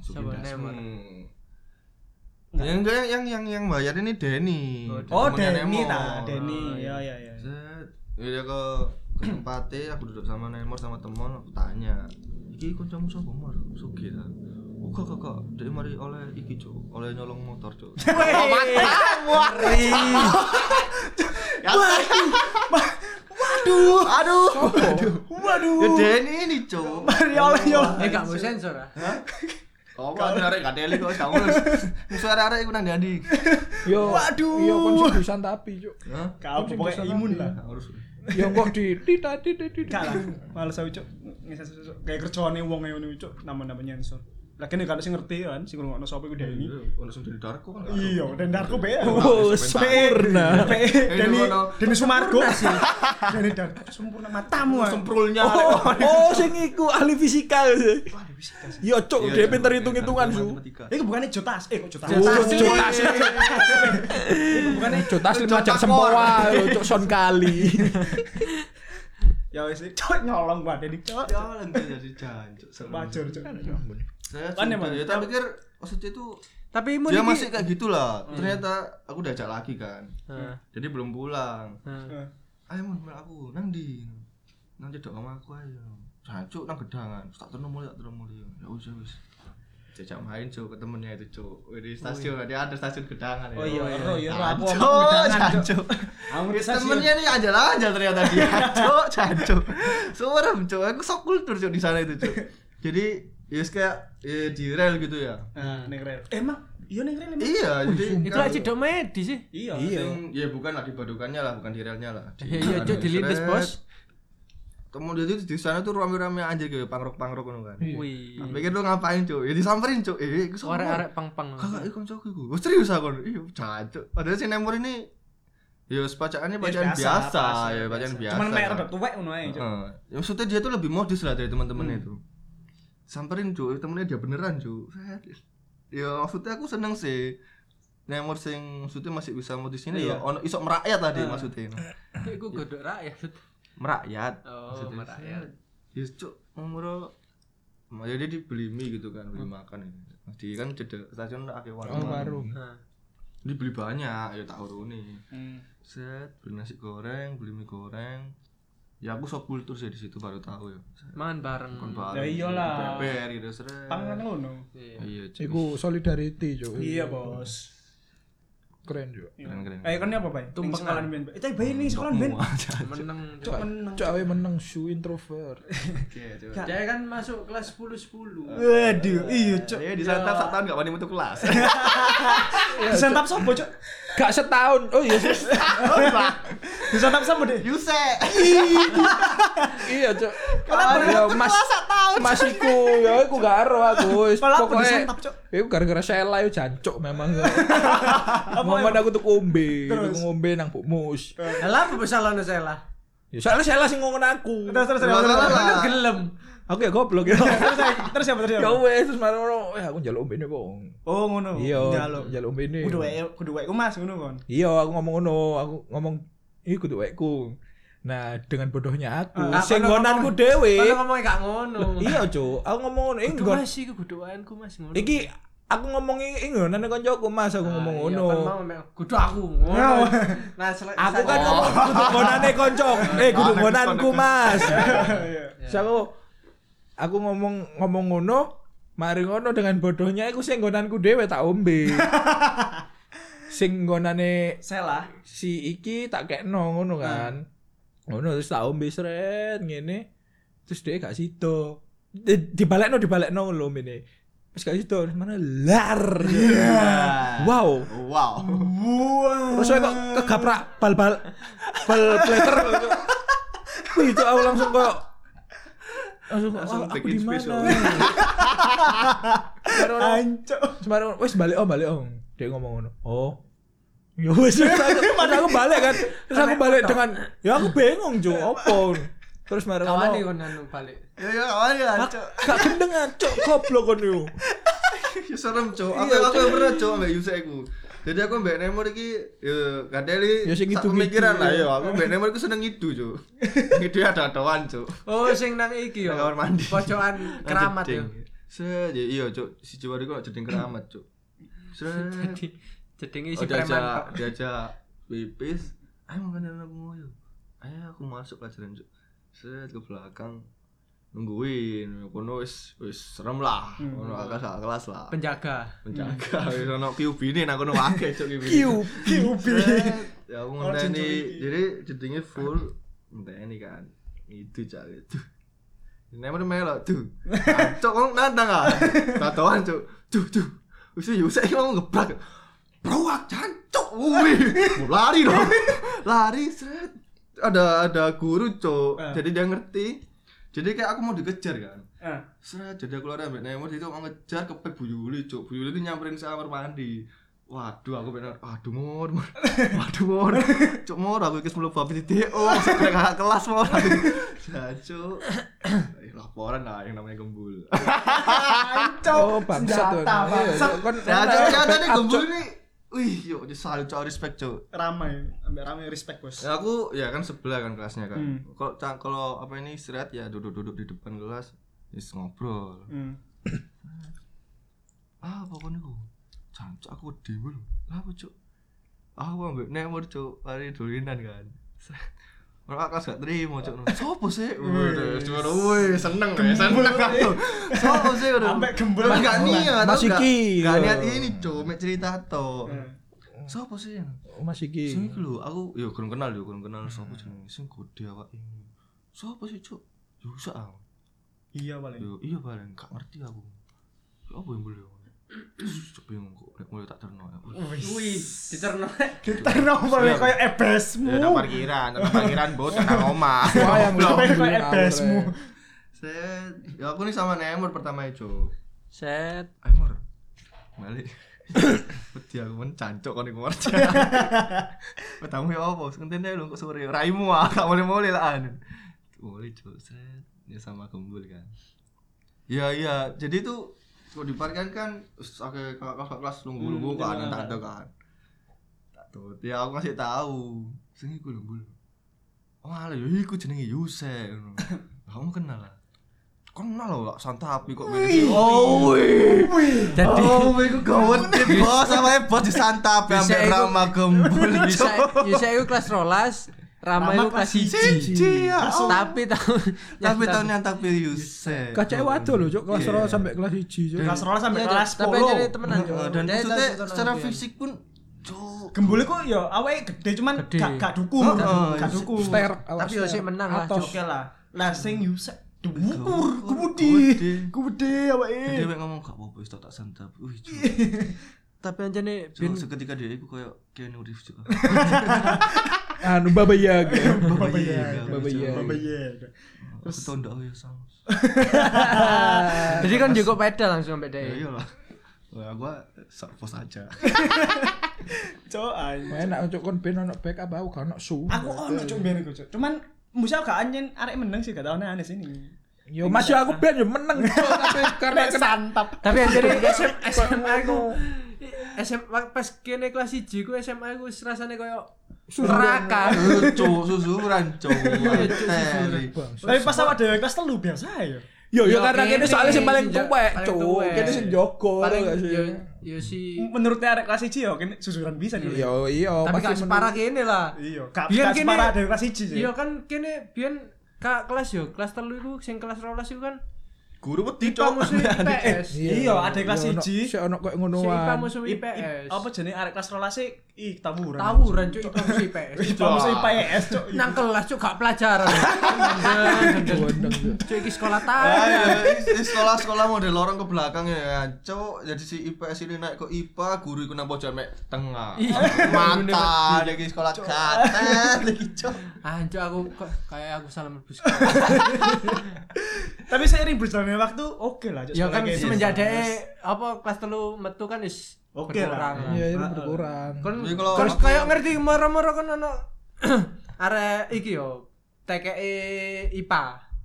Speaker 4: Masukin
Speaker 3: Siapa
Speaker 4: dasmu.
Speaker 3: Neymar?
Speaker 4: yang enggak Hmm. yang yang yang yang bayar ini Denny
Speaker 1: Oh,
Speaker 4: Temennya
Speaker 1: Denny
Speaker 4: Nemo.
Speaker 1: ta,
Speaker 4: Oh,
Speaker 1: Denny.
Speaker 4: iya.
Speaker 1: Ya ya ya.
Speaker 4: Set, ya ke ke tempatnya aku duduk sama Nemor sama temen aku tanya. Iki kancamu sapa Mor? Sugih ta. Oh kakak kakak, dia mari oleh iki cok, oleh nyolong motor cok.
Speaker 1: Ya, Waduh,
Speaker 4: Aduh, ya
Speaker 1: waduh.
Speaker 4: Denny ini cok.
Speaker 1: Mari oleh yo.
Speaker 3: Eh, gak mau sensor ah.
Speaker 4: Oh, kok ada arek kadeli kok kamu. Musuh arek-arek iku nang ndi?
Speaker 2: Yo,
Speaker 1: Waduh.
Speaker 2: Yo konsidusan tapi cuk.
Speaker 4: Hah?
Speaker 1: Kau pokoknya imun lah.
Speaker 4: Nggak Harus.
Speaker 2: Yo kok di di tadi di di. di.
Speaker 1: Enggak lah, males aku cuk. Ngesensor cuk. Kayak kerjaane wong ngene cuk, nama-nama nyensor. Lagi nih kalau sih ngerti kan, sih ngurungokno sapa iku Denny.
Speaker 4: Langsung dari Darko kan.
Speaker 1: Iya, dan Darko be.
Speaker 2: Oh, sempurna.
Speaker 1: PE Deni
Speaker 4: ngono.
Speaker 1: Deni Sumargo. Deni Darko sempurna matamu. ah.
Speaker 4: Semprulnya.
Speaker 2: Oh, oh sing iku ahli fisika.
Speaker 1: Waduh, bisa kasih.
Speaker 2: Yo
Speaker 4: Iya,
Speaker 2: cuk, dia pinter hitung-hitungan su.
Speaker 1: Iku bukannya Jotas, eh kok Jotas.
Speaker 2: Oh, cuk.
Speaker 1: Iku bukannya
Speaker 2: Jotas lima jam sempoa, yo, cuk son kali.
Speaker 1: ya wis cuk nyolong gua Deni cuk.
Speaker 4: Jalan jadi jancuk.
Speaker 1: Bajur cuk.
Speaker 4: Saya
Speaker 1: Kan emang-
Speaker 4: sudah, ya tak pikir maksudnya itu
Speaker 3: Tapi imun
Speaker 4: dia
Speaker 3: iki-
Speaker 4: masih kayak gitulah.
Speaker 1: Hmm.
Speaker 4: Ternyata aku diajak lagi kan.
Speaker 3: Heeh.
Speaker 4: Jadi belum pulang.
Speaker 3: heeh.
Speaker 1: Eh.
Speaker 4: Ayo mun mel aku nang ndi? Nang cedok sama aku ayo. Jancuk nang gedangan. Terus Tak terno muli, tak terno muli. Ya wis ya wis. Jejak main cuk ke temennya itu cuk. Di stasiun dia ada stasiun gedangan ya.
Speaker 1: iya. Oh iya, iya, iya, aku
Speaker 4: Jancuk,
Speaker 1: ngomong gedangan, Cuk.
Speaker 4: jancuk.
Speaker 1: Aku
Speaker 4: Ya,
Speaker 1: ngerti stasiun.
Speaker 4: temennya nih ajal-ajal ternyata dia cok cok serem cok aku sok kultur cok di sana itu cok jadi ya kayak ya, di rel gitu ya
Speaker 1: Nah, ning rel. Emang iya ning rel. emang?
Speaker 4: iya jadi
Speaker 3: Itu
Speaker 4: kan-
Speaker 3: aja dok medis sih.
Speaker 1: Iya.
Speaker 4: Sing- ya bukan lah di badukannya lah bukan di relnya lah Di-
Speaker 3: Iya, iya, Cuk, di lindes,
Speaker 4: Seret.
Speaker 3: Bos.
Speaker 4: kemudian itu di sana tuh rame-rame anjir gitu pangrok-pangrok gitu kan
Speaker 3: Wih.
Speaker 4: mikir lu ngapain cok ya disamperin cok eh iku sopo?
Speaker 3: Arek-arek pang-pang.
Speaker 4: kakak iku kancaku iku Oh, serius aku iya cacok padahal si Nemor ini ya pacaannya bacaan biasa, ya bacaan biasa
Speaker 1: Cuman mek
Speaker 4: kan.
Speaker 1: rada tuwek ngono
Speaker 3: Iya.
Speaker 1: ae cuk.
Speaker 4: Heeh. Ya, maksudnya dia tuh lebih modis lah dari
Speaker 3: Hmm.
Speaker 4: teman-temannya itu. Samperin cuy, temennya dia beneran cuy. Set. Ya maksudnya aku seneng sih. Nemor sing maksudnya masih bisa modisnya ya
Speaker 3: Iya.
Speaker 4: ono isok merakyat tadi maksudnya.
Speaker 3: Iku godok rakyat.
Speaker 4: Merakyat.
Speaker 3: Oh,
Speaker 4: maksudnya.
Speaker 3: merakyat.
Speaker 4: Set. Ya cuk, umur Makanya dia dibeli mie gitu kan,
Speaker 3: Hmm.
Speaker 4: beli makan ini. Di kan cedek stasiun ada akeh
Speaker 3: Oh,
Speaker 4: warung.
Speaker 3: Heeh.
Speaker 4: Dibeli banyak, ya tak uruni.
Speaker 1: Hmm.
Speaker 4: Set, beli nasi goreng, beli mie goreng. Ya aku sok kultur sih di situ baru tahu ya. Set.
Speaker 3: Makan bareng.
Speaker 4: Kon baru.
Speaker 1: Ya iyalah.
Speaker 4: Beber gitu seret.
Speaker 1: Pangan ngono.
Speaker 3: Iya.
Speaker 4: Iya, cuy.
Speaker 2: Iku solidarity cuk.
Speaker 1: Iya, Bos.
Speaker 2: Keren cuk.
Speaker 4: Keren keren.
Speaker 1: Eh kan ini apa, Bay? Ning
Speaker 3: Tumpengan.
Speaker 1: sekolahan Ben. Eh, bayi ning sekolahan Ben.
Speaker 3: Meneng. Cuk.
Speaker 2: Cuk, cuk awe meneng su introvert.
Speaker 4: Oke, coba.
Speaker 3: Dia kan masuk kelas 10-10.
Speaker 1: Waduh, iya, Cuk.
Speaker 4: Iya, di sana sak tahun gak wani metu kelas.
Speaker 1: Disantap sapa, Cuk?
Speaker 2: Gak setahun. Oh iya sus.
Speaker 1: Disantap sapa, Dek?
Speaker 4: Yuse.
Speaker 2: Iya cuk.
Speaker 1: Kenapa?
Speaker 2: Yo, mas Mas iku yo iku gak ero aku. Wis,
Speaker 1: Kalau aku
Speaker 2: Pokoke
Speaker 1: disantap, Cuk.
Speaker 2: iku gara-gara Sheila yo jancuk memang. ya. Momen aku tuku ombe,
Speaker 1: Terus?
Speaker 2: tuku ombe nang bukmus.
Speaker 3: Lah apa salah no saya lah.
Speaker 2: Ya soalnya Sheila sing ngomong aku.
Speaker 1: Terus terus terus.
Speaker 4: Lah, lah,
Speaker 1: terus.
Speaker 4: lah.
Speaker 3: Aku gelem.
Speaker 2: Aku ya goblok ya.
Speaker 1: Terus terus siapa terus siapa?
Speaker 2: Ya wes terus marah-marah, "Eh, aku njaluk ombene kok."
Speaker 1: Oh, ngono.
Speaker 2: Iya,
Speaker 1: Njaluk. eh.
Speaker 2: njaluk ombene.
Speaker 1: Kudu wae, kudu wae ku Mas ngono kon.
Speaker 2: Iya, aku ngomong ngono, aku ngomong iki kudu wekku. Nah, dengan bodohnya aku,
Speaker 3: Ah,
Speaker 2: sing
Speaker 3: kono
Speaker 2: ngonanku
Speaker 3: ngomong- Kalau
Speaker 2: dhewe.
Speaker 3: ngomong gak ngono.
Speaker 2: Eh. Iya, Cuk. Aku ngomong ngono, iki
Speaker 3: Kudu
Speaker 2: nggon-
Speaker 3: Mas iku godokanku Mas ngono.
Speaker 2: iki aku ngomong iki ngonan kancaku, Mas,
Speaker 3: Ah,
Speaker 2: aku ngomong ngono.
Speaker 3: iya, Kudu aku ngono. Nah, sel-
Speaker 2: Aku kan
Speaker 3: sel-
Speaker 2: ngomong kudu ngonane kancaku. Eh, kudu
Speaker 4: Ah, aku
Speaker 2: ngonanku,
Speaker 4: konek-
Speaker 2: Mas.
Speaker 1: Iya.
Speaker 2: Terus aku aku ngomong ngomong ngono, mari ngono dengan bodohnya iku sing nggonanku dhewe tak ombe. sing nggonane
Speaker 1: Salah.
Speaker 2: si iki tak kekno ngono kan. Ngono terus tak ombe sret ngene. Terus dia gak sido. Di- Dibalekno dibalekno lho mene. Wis gak sido terus mana lar. Wow.
Speaker 4: Wow.
Speaker 2: Terus saya kok kegaprak bal-bal bal plater. Wih, itu aku langsung kok Langsung,
Speaker 4: Langsung
Speaker 2: "Wah,
Speaker 4: take
Speaker 2: aku di
Speaker 4: it space,
Speaker 2: mana?
Speaker 4: Om.
Speaker 1: Ancok.
Speaker 2: Semarang, wes balik om, balik om. Dia ngomong ngono. Oh. Ya wes terus aku, terus aku balik kan. Terus aku balik dengan ya aku bingung jo opo. Terus marah
Speaker 3: Kawan nih kon
Speaker 2: ngono.
Speaker 3: anu balik.
Speaker 4: Ya ya awal ya, Cok.
Speaker 2: Gak kendengan, cok goblok kon yo.
Speaker 4: Ya serem, Cok. Aku aku yang pernah, Cok, ambek Yusek aku. Jadi aku mbek Nemor iki ya kadeli
Speaker 2: Ya, sing
Speaker 4: sak
Speaker 2: ngidu-ngidu,
Speaker 4: pemikiran lah ya.
Speaker 2: ya.
Speaker 4: Aku mbek Nemor iku seneng ngidu, Cok. Ngidu ada-adaan, Cok.
Speaker 3: Oh, sing nang iki yo.
Speaker 4: Nang kamar mandi.
Speaker 3: Pocokan keramat yo.
Speaker 4: Jeding. Set, ya iya, Cok. Si Jawa iku jeding keramat, Cok. Set.
Speaker 3: Jadi jedenge
Speaker 4: Oh,
Speaker 3: isi preman
Speaker 4: diajak
Speaker 3: tok.
Speaker 4: diajak pipis ayo makan yang aku mau yuk ayo aku masuk pelajaran cuk set ke belakang nungguin kono wis wis serem lah kono agak salah kelas lah
Speaker 3: Hmm. Penjaga.
Speaker 4: penjaga wis ono QB ini nang kono akeh cuk QB
Speaker 2: Kiu.
Speaker 4: Set, ya aku
Speaker 1: Orang
Speaker 4: ngenteni
Speaker 1: jenjol iki.
Speaker 4: jadi jedenge full ngenteni kan itu cak itu Nemer melo tuh. Cok kok nandang ah. Tatoan cuk. Tuh tuh. Wis yo saya mau ngebrak. Proak jancuk. Wih. Lari dong. Lari seret. Ada ada
Speaker 1: Ah.
Speaker 4: guru cok. Jadi dia ngerti. Jadi kayak aku mau dikejar kan.
Speaker 1: Ah.
Speaker 4: Seret jadi aku lari ambek Neymar itu mau ngejar ke Bu Yuli, Cuk. Bu Yuli itu nyamperin ke kamar mandi. Waduh aku bener. Aduh mor. Mor. Waduh mor. Cuk mor aku kes mlebu babi titik. Oh, sampai kakak kelas mor. Jancuk. Eh, Laporan lah yang namanya gembul.
Speaker 1: Ah, Ancok.
Speaker 2: Oh, bangsat. iya.
Speaker 1: Senjata, bangsat.
Speaker 2: Kon
Speaker 4: Jancuk ya tadi gembul ini. Wih, yuk disalut cuk respect cuk.
Speaker 1: Ramai, ambil ramai respect bos.
Speaker 4: Ya, aku ya kan sebelah kan kelasnya kan.
Speaker 1: Hmm.
Speaker 4: Kalau ca- kalau apa ini istirahat ya duduk-duduk di depan kelas, is ngobrol.
Speaker 1: Hmm.
Speaker 4: ah pokoknya aku jancok aku dewe lho lah apa cuk Ah, aku ambek nemor cuk mari dolinan kan Sret. Orang kelas gak terima cuk Sopo sih? Waduh, cuma woi seneng ya, seneng aku Sopo sih? udah
Speaker 1: Ambek gembul.
Speaker 4: Mas gak niat,
Speaker 2: Mas
Speaker 4: aku gak-
Speaker 2: iki,
Speaker 4: Gak
Speaker 2: iya.
Speaker 4: niat ini cuk, mek cerita to
Speaker 1: Hmm.
Speaker 4: Sopo sih?
Speaker 2: Mas
Speaker 4: Sing
Speaker 2: iki.
Speaker 4: iku lho, aku ya kurang kenal yo, kurang kenal sopo jenenge sing gede awak ini Sopo sih cuk? Yusak aku
Speaker 1: Iya paling.
Speaker 4: Yo, iya paling gak ngerti aku. Ya apa yang boleh? Terus aku bingung kok nek mulai tak terno. ya.
Speaker 3: Wih, dicerno.
Speaker 1: Kita nomor
Speaker 4: Iya.
Speaker 1: kayak ebesmu.
Speaker 4: parkiran, nang parkiran bot nang omah.
Speaker 2: Wayang
Speaker 1: Belum
Speaker 2: belum.
Speaker 1: kayak ebesmu.
Speaker 4: Set, ya aku nih sama Nemur pertama itu.
Speaker 3: Set.
Speaker 4: Nemur. Balik. Wedi aku men cancok kon iku merja. Petamu ya apa? Ngentene lho kok sore raimu ah, gak boleh-boleh lah anu. Boleh cuk, set. Ya sama gembul kan. Ya iya, jadi itu kok diparkan kan oke kakak kelas
Speaker 1: Hmm,
Speaker 4: nunggu-nunggu kan
Speaker 1: iya.
Speaker 4: tak ada kan. Tak tahu. Ya aku kasih tahu. Sing iku lho, Bul. Oh, ala yo iku jenenge Yusek ngono. Kamu kenal lah. Kenal lho, santapi kok milih. Oh, wih.
Speaker 3: Jadi
Speaker 4: Oh, iku gawat bos sama bos ya? di santap
Speaker 3: Bisa
Speaker 4: sampe
Speaker 3: iku-
Speaker 4: Rama gembul
Speaker 3: Yusa,
Speaker 4: bisa.
Speaker 3: Yusa itu kelas rolas,
Speaker 1: Rama
Speaker 3: Rama itu kelas
Speaker 1: kelas
Speaker 3: siji.
Speaker 4: Iya.
Speaker 3: Tapi tahun
Speaker 4: Tapi tahun yang tak pilih Yusek.
Speaker 2: Kacake waduh lho cok kelas
Speaker 4: Iya.
Speaker 2: 2 sampai kelas 1 cok.
Speaker 1: Kelas rolas sampai
Speaker 3: Iya,
Speaker 1: kelas
Speaker 3: tapi jadi
Speaker 1: 10.
Speaker 3: temenan
Speaker 4: Heeh, Dan maksudnya secara fisik pun cuk.
Speaker 1: Gembule kok ya awake gede cuman
Speaker 3: Gede.
Speaker 1: gak gak duku,
Speaker 4: Heeh,
Speaker 1: gak duku.
Speaker 2: Ster awas.
Speaker 3: Tapi Yusik menang lah
Speaker 2: Atos.
Speaker 3: cok.
Speaker 1: Oke lah. Lah sing Yusek dukur,
Speaker 4: gede.
Speaker 1: gede. Gede
Speaker 4: Dia
Speaker 1: awake.
Speaker 4: mek ngomong gak apa-apa wis tak tak santap. Wih, cuk.
Speaker 3: Tapi aja nih
Speaker 4: Cuk, seketika dia iku koyo Keanu Reeves cuk.
Speaker 2: Anu Baba Yaga.
Speaker 1: Bapak
Speaker 4: Iya,
Speaker 1: ya.
Speaker 4: Baba
Speaker 2: Iya.
Speaker 4: Yaga.
Speaker 1: Bapak ya.
Speaker 4: Terus tondok oh, ya sang. Ah.
Speaker 3: Jadi kan juga beda langsung sampai
Speaker 4: Ya
Speaker 3: deh.
Speaker 4: iyalah. Lah gua sok pos aja.
Speaker 1: Cok anjing.
Speaker 2: Enak cok kon ben ono backup aku gak ono su.
Speaker 1: Aku ono cuk biyen iku cuk. Cuman musa gak anjen arek meneng sih gak tau aneh sini.
Speaker 2: Yo Mas yo aku ben yo meneng cok tapi karena
Speaker 1: Nek
Speaker 2: kena
Speaker 1: santap.
Speaker 3: Tapi aja nih SMA aku SMA pas kene kelas siji ku SMA ku rasanya koyo neraka.
Speaker 4: Cuk, susuran cuk. Teri.
Speaker 1: Tapi pas awak dhewe kelas 3 biasa ya.
Speaker 2: Yo
Speaker 3: Yo,
Speaker 2: yo karena
Speaker 3: kene
Speaker 2: kene soalnya sing paling
Speaker 3: sing ja-
Speaker 2: tuwek
Speaker 3: paling
Speaker 2: cuk.
Speaker 3: tuwek.
Speaker 2: Kene sing jogo
Speaker 3: Paling
Speaker 2: gak sih?
Speaker 3: yo yo si
Speaker 1: Menurutnya arek kelas 1 ya kene susuran bisa nih.
Speaker 2: Yo iya
Speaker 3: tapi
Speaker 2: pasti
Speaker 3: gak
Speaker 2: meneng.
Speaker 3: separah kene lah.
Speaker 1: Iya, gak
Speaker 3: Biyen
Speaker 1: gak
Speaker 3: kene-
Speaker 1: separah dhewe kelas 1 sih.
Speaker 3: Iya kan kene biyen ka kelas yo, kelas telu iku sing kelas 12 iku kan
Speaker 4: Guru wedi
Speaker 3: IPA
Speaker 4: cok.
Speaker 3: musuh IPS.
Speaker 1: Iya, ada kelas
Speaker 2: Iya, ono-
Speaker 1: siji.
Speaker 2: Sik ono
Speaker 3: Si
Speaker 2: koyo
Speaker 3: IPA
Speaker 2: ngonoan.
Speaker 3: musuh
Speaker 1: I-
Speaker 3: IPS.
Speaker 1: i- Apa jenenge arek kelas 12 sih? Ih, tawuran.
Speaker 3: Tawuran cuk IPA musuh IPS.
Speaker 1: IPA musuh IPS, cuk.
Speaker 3: Nang kelas cuk gak pelajaran. Gendeng, gendeng. Cuk iki sekolah
Speaker 4: Ah,
Speaker 3: tadi.
Speaker 4: iya, iya. Ini sekolah-sekolah model lorong ke belakang ya, cok. Jadi si IPS ini naik ke IPA, guru itu nampak jamek tengah.
Speaker 3: Iya,
Speaker 4: Mata, lagi sekolah katet, lagi cok.
Speaker 3: Anjir aku kok kayak aku salah melebus.
Speaker 1: Tapi seiring berjalannya waktu, oke lah cuk.
Speaker 3: Ya
Speaker 1: sekolah
Speaker 3: kan
Speaker 1: kayak
Speaker 3: semenjak
Speaker 1: biasa.
Speaker 3: deh apa kelas telu metu kan is
Speaker 1: Oke lah.
Speaker 3: berkurang.
Speaker 2: Iya, itu berkurang.
Speaker 3: Kan
Speaker 4: Jadi kalau
Speaker 3: kan
Speaker 4: aku-
Speaker 3: kayak ngerti moro-moro kan ono arek iki yo TKE IPA.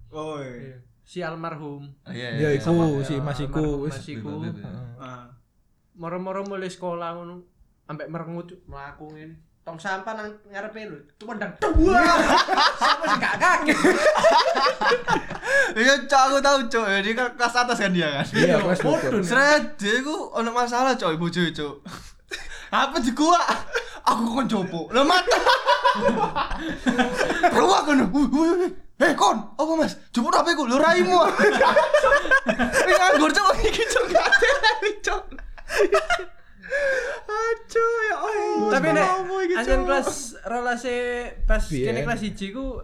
Speaker 1: Oh. iya.
Speaker 3: Si almarhum.
Speaker 4: Iya,
Speaker 2: Ya iku si Mas iku
Speaker 3: Almarhum
Speaker 2: wis
Speaker 3: Mas iku.
Speaker 2: iya.
Speaker 1: Ah.
Speaker 3: Moro-moro mulai sekolah ngono. Ambek merengut cuk, mlaku ngene. Tong sampah nang ngarepe lho. Tumendang. Wah. Siapa sih gak kaget?
Speaker 4: Iya, cok aku tahu cok. Jadi kan kelas atas kan dia kan.
Speaker 2: Iya, kelas
Speaker 3: Bodoh.
Speaker 2: berkurang.
Speaker 4: Seret, dia ku ono masalah cok, ibu cok cok. Apa di gua? Aku kon jopo. Lah mata. Ruwak kon. Hei Eh, kon, apa mas? Jopo apa iku? Lho raimu. Wis anggur cok iki cok kate cok. Aduh ya Allah.
Speaker 3: Tapi nek
Speaker 4: kelas
Speaker 3: anjen kelas rolas e pas
Speaker 2: Biyen.
Speaker 3: kene kelas 1 ku